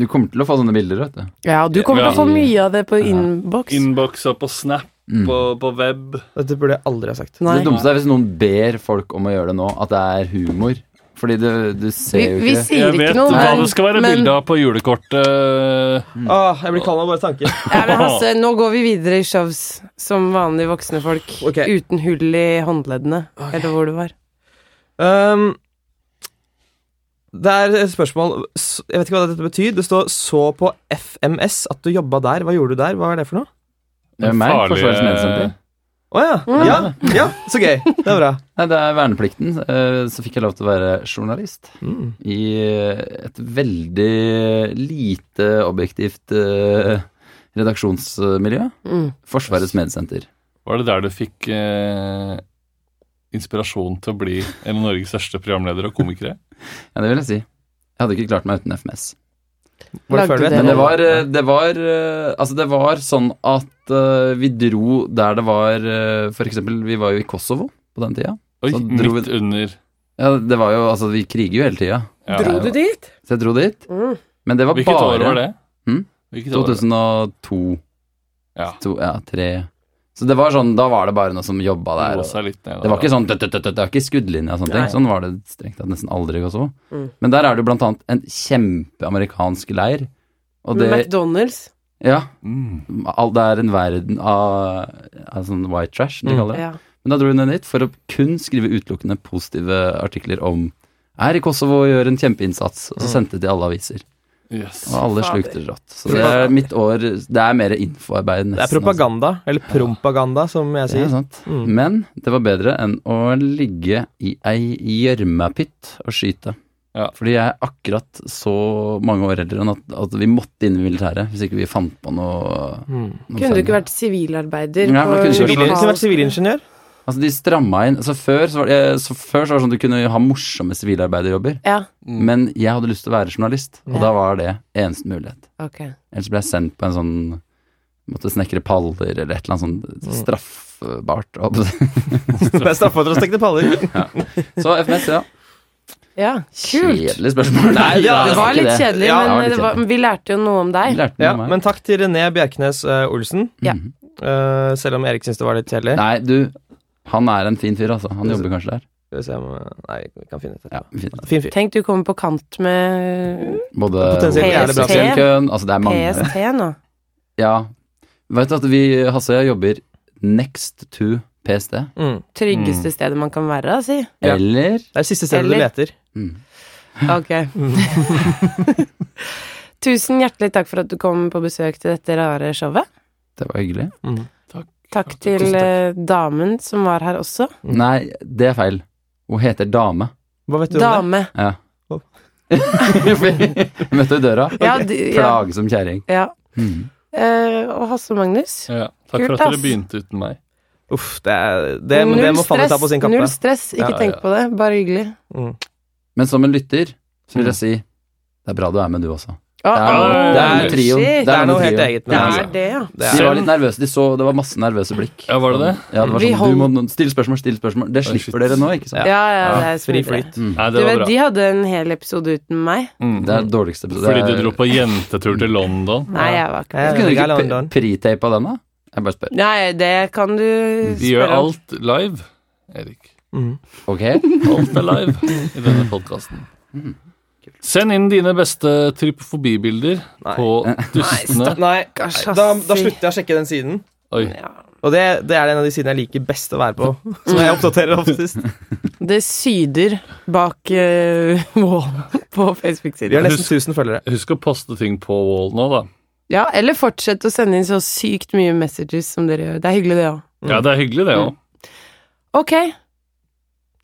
Speaker 6: Du kommer til å få sånne bilder, vet du.
Speaker 1: Ja, du kommer til å få mye av det på innboks.
Speaker 4: Innbokser på Snap,
Speaker 6: Mm.
Speaker 4: på, på web.
Speaker 2: Dette burde jeg aldri ha sagt.
Speaker 1: Nei.
Speaker 6: Det dummeste er hvis noen ber folk om å gjøre det nå, at det er humor. Fordi du, du
Speaker 1: Vi,
Speaker 6: ser jo
Speaker 1: vi
Speaker 6: ikke
Speaker 1: sier
Speaker 4: Jeg
Speaker 1: ikke
Speaker 4: vet
Speaker 1: noe.
Speaker 4: hva
Speaker 1: men-
Speaker 4: det skal være
Speaker 1: men-
Speaker 4: bilde av på julekortet.
Speaker 2: Åh, Mm. Ah, jeg blir kald av bare tanker.
Speaker 1: Ja, men Hasse, nå går vi videre i shows som vanlige voksne folk.
Speaker 2: Ok.
Speaker 1: Uten hull i håndleddene, eller hvor det var.
Speaker 2: Um, det er et spørsmål s- Jeg vet ikke hva dette betyr. Det står 'så på FMS at du jobba der'. Hva gjorde du der? Hva er det for noe?
Speaker 6: Det er meg,
Speaker 4: farlige-
Speaker 6: Forsvarets medsenter.
Speaker 2: Å ja. ja. Ja, så gøy. Det er bra.
Speaker 6: Nei, det er verneplikten. eh, Så fikk jeg lov til å være journalist
Speaker 2: Mm.
Speaker 6: i et veldig lite objektivt eh, redaksjonsmiljø.
Speaker 1: Mm.
Speaker 6: Forsvarets medsenter.
Speaker 4: Var det der du fikk eh, inspirasjon til å bli en av Norges største programledere og komikere?
Speaker 6: Ja, det vil jeg si. Jeg hadde ikke klart meg uten FMS.
Speaker 2: Var det før du
Speaker 1: Lagde
Speaker 2: vet
Speaker 1: dere-
Speaker 6: Men det
Speaker 2: det?
Speaker 6: var, eh, det var eh, Altså, det var sånn at eh, vi dro der det var eh, For eksempel, vi var jo i Kosovo på den tida.
Speaker 4: Oi,
Speaker 6: Så dro
Speaker 4: midt under.
Speaker 6: Ja, det var jo Altså, vi kriger jo hele tida.
Speaker 4: Ja.
Speaker 1: Dro du dit?
Speaker 6: Så jeg dro dit.
Speaker 1: Mm.
Speaker 6: Men det var
Speaker 4: Hvilket
Speaker 6: bare
Speaker 4: år var det?
Speaker 6: Hm?
Speaker 4: Hvilket år var det?
Speaker 6: 2002.
Speaker 4: Ja.
Speaker 6: To, ja, tre Så det var sånn Da var det bare noe som jobba
Speaker 4: Det
Speaker 6: der.
Speaker 4: lå
Speaker 6: Og,
Speaker 4: seg litt ned,
Speaker 6: det var ikke sånn dødt, dødt, dødt, dødt, Det var ikke skuddlinje og sånne ting. Sånn var det strengt tatt nesten aldri i Kosovo.
Speaker 1: Mm.
Speaker 6: Men der er det jo blant annet en kjempeamerikansk leir. Og det
Speaker 1: McDonald's.
Speaker 6: Ja.
Speaker 4: Mm.
Speaker 6: All, det er en verden av, av sånn white trash, som de
Speaker 2: Mm.
Speaker 6: kaller det.
Speaker 1: Ja.
Speaker 6: Men da dro hun ned dit for å kun skrive utelukkende positive artikler om er i Kosovo og gjør en kjempeinnsats. Og så sendte de til alle aviser.
Speaker 4: Yes.
Speaker 6: Og alle
Speaker 1: Mm. Fader.
Speaker 6: slukte det rått. Så det er mitt år Det er mer infoarbeid, nesten.
Speaker 2: Det er propaganda, eller propaganda, som jeg
Speaker 6: altså. Ja,
Speaker 2: sier.
Speaker 6: sant.
Speaker 2: Mm.
Speaker 6: Men det var bedre enn å ligge i ei gjørmepytt og skyte.
Speaker 4: Ja.
Speaker 6: Fordi jeg er akkurat så mange år eldre enn at, at vi måtte inn i militæret hvis ikke vi fant på noe.
Speaker 2: Mm.
Speaker 6: noe
Speaker 1: Kunne du
Speaker 6: selv.
Speaker 1: ikke vært sivilarbeider?
Speaker 6: Nei, for
Speaker 1: på
Speaker 6: kunne
Speaker 2: Sivil-
Speaker 6: ikke
Speaker 1: lokal-
Speaker 2: Kunne vært sivilingeniør.
Speaker 6: Altså, de stramma inn. Så før så var det, så før så var det sånn at du kunne ha morsomme sivilarbeiderjobber.
Speaker 1: Ja,
Speaker 2: Mm.
Speaker 6: Men jeg hadde lyst til å være journalist, og
Speaker 1: Ja.
Speaker 6: da var det eneste mulighet.
Speaker 1: ok.
Speaker 6: Ellers ble jeg sendt på en sånn Måtte snekre paller eller et eller annet sånn straffbart.
Speaker 2: Ble straffa for å stikke til paller.
Speaker 6: Så FMS, ja.
Speaker 1: Ja, kult.
Speaker 6: Kjedelig spørsmål. Nei,
Speaker 2: Ja,
Speaker 1: Det var
Speaker 6: ikke
Speaker 1: litt kjedelig,
Speaker 2: Ja,
Speaker 6: var
Speaker 2: det
Speaker 1: men
Speaker 6: litt
Speaker 1: det var,
Speaker 6: kjedelig.
Speaker 1: vi lærte jo noe om
Speaker 6: Jeg
Speaker 1: deg.
Speaker 6: lærte
Speaker 2: Ja,
Speaker 6: noe om meg.
Speaker 2: men takk til René Bjerknes eh, Olsen.
Speaker 1: Ja.
Speaker 6: Mhm.
Speaker 2: Eh, selv om Erik syns det var litt kjedelig.
Speaker 6: Nei, du, han er en fin fyr, altså. Han jobber kanskje der.
Speaker 2: Skal vi se om eh, Nei, vi kan finne ut
Speaker 6: Ja,
Speaker 2: det.
Speaker 6: fin.
Speaker 2: Fin fyr.
Speaker 1: Tenk, du kommer på kant med
Speaker 6: Både
Speaker 2: Potensielt
Speaker 1: jævlig bra.
Speaker 6: hovedsekretærkøen, Altså, det er mange
Speaker 1: PST nå.
Speaker 6: Ja. Vet du at vi, Hasse og jeg, jobber next to PST?
Speaker 2: Mm.
Speaker 1: Tryggeste stedet man kan være, da, si.
Speaker 2: Ja.
Speaker 6: Eller
Speaker 2: Det er det siste stedet du
Speaker 1: Eller-
Speaker 2: leter.
Speaker 6: mm.
Speaker 1: Ok. Tusen hjertelig takk for at du kom på besøk til dette rare showet.
Speaker 6: Det var hyggelig.
Speaker 1: Takk til eh, damen som var her også.
Speaker 2: Mm.
Speaker 6: Nei, det er feil. Hun heter Dame.
Speaker 2: Hva vet du om det?
Speaker 1: Dame.
Speaker 6: Ja.
Speaker 2: Oh.
Speaker 6: Vi møtte i døra.
Speaker 1: Ja, du, ja,
Speaker 6: Plage som kjerring.
Speaker 1: ja.
Speaker 6: Mm.
Speaker 1: Eh, og Hasse og Magnus.
Speaker 4: Ja, takk
Speaker 1: Kult,
Speaker 4: for at
Speaker 1: ass.
Speaker 4: dere begynte uten meg.
Speaker 2: Uff, det, er, det, det må Fanny ta på sin kappe.
Speaker 1: Null stress. Ikke
Speaker 2: Ja,
Speaker 1: tenk på det. Bare hyggelig.
Speaker 6: Men som en lytter så vil jeg
Speaker 2: Mm.
Speaker 6: si det er bra du er med, du også.
Speaker 1: Å,
Speaker 6: Det er,
Speaker 1: å,
Speaker 6: det er trioen.
Speaker 1: Ah, shit.
Speaker 2: Det er noe helt
Speaker 6: trioen.
Speaker 2: eget med
Speaker 1: Det
Speaker 2: det.
Speaker 1: er det, ja.
Speaker 2: Det
Speaker 6: De
Speaker 2: er,
Speaker 6: var litt nervøse. De så, det var masse nervøse blikk.
Speaker 4: Ja, var det det?
Speaker 6: Ja, det var
Speaker 1: Vi
Speaker 6: sånn, du må Still spørsmål, still spørsmål. Det
Speaker 4: shit.
Speaker 6: slipper dere nå, ikke sant? Mm.
Speaker 1: Ja, ja, det er
Speaker 2: fri
Speaker 1: smidig.
Speaker 2: flyt.
Speaker 4: Mm. Nei,
Speaker 1: Du
Speaker 4: det var
Speaker 1: vet,
Speaker 4: bra.
Speaker 1: de hadde en hel episode uten meg.
Speaker 4: Mm.
Speaker 6: Det er dårligste episode.
Speaker 4: Fordi du
Speaker 6: Det er-
Speaker 4: dro på jentetur til London.
Speaker 1: Nei, jeg var ikke
Speaker 2: Ja.
Speaker 6: Kunne du
Speaker 2: Jeg er
Speaker 6: ikke
Speaker 2: London.
Speaker 6: pre- pre-tape av den, da? Jeg bare spør.
Speaker 1: Nei, det kan du
Speaker 4: Vi
Speaker 1: spørre
Speaker 4: gjør
Speaker 1: Mm. om.
Speaker 4: alt live, Erik.
Speaker 2: Mm.
Speaker 6: Ok?
Speaker 4: Alt er live i denne podkasten.
Speaker 6: Mm.
Speaker 4: Send inn dine beste trypofobibilder
Speaker 2: Nei.
Speaker 4: på dustene.
Speaker 2: Nei,
Speaker 1: Kanskje,
Speaker 2: da,
Speaker 1: ass,
Speaker 2: da
Speaker 1: si.
Speaker 2: slutter jeg å sjekke den siden.
Speaker 4: Oi.
Speaker 1: Ja.
Speaker 2: Og det, det er en av de sidene jeg liker best å være på. Som jeg oppdaterer oftest.
Speaker 1: Det syder bak eh, vålen på
Speaker 2: Vi har
Speaker 1: Facebook-siden.
Speaker 2: nesten 1000 følgere.
Speaker 4: Husk å poste ting på wall nå, da.
Speaker 1: Ja, eller fortsett å sende inn så sykt mye messages som dere gjør. Det er hyggelig, det òg.
Speaker 4: Ja, det er hyggelig, det òg.
Speaker 1: Ok.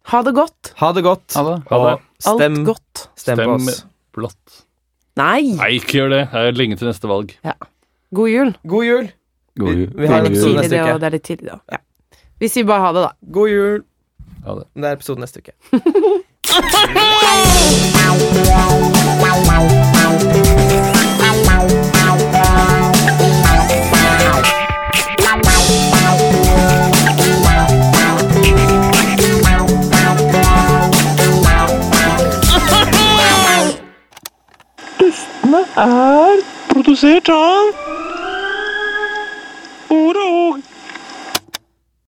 Speaker 1: Ha det godt.
Speaker 2: Ha det godt,
Speaker 6: Ha det.
Speaker 4: Ha det.
Speaker 2: og
Speaker 1: Alt
Speaker 2: stem,
Speaker 1: godt.
Speaker 2: stem på oss.
Speaker 4: Stem blått.
Speaker 1: Nei!
Speaker 4: Nei, ikke gjør det. Det er lenge til neste valg.
Speaker 1: God jul.
Speaker 2: God jul!
Speaker 6: God jul.
Speaker 2: Vi har en
Speaker 6: God jul.
Speaker 2: episode
Speaker 1: Tidlig,
Speaker 2: neste
Speaker 1: det,
Speaker 2: uke.
Speaker 1: og det er litt tidlig, da. Ja. Vi sier bare ha det, da.
Speaker 2: God jul!
Speaker 4: Ha det.
Speaker 2: Det er episode neste uke.
Speaker 7: Dustene er produsert av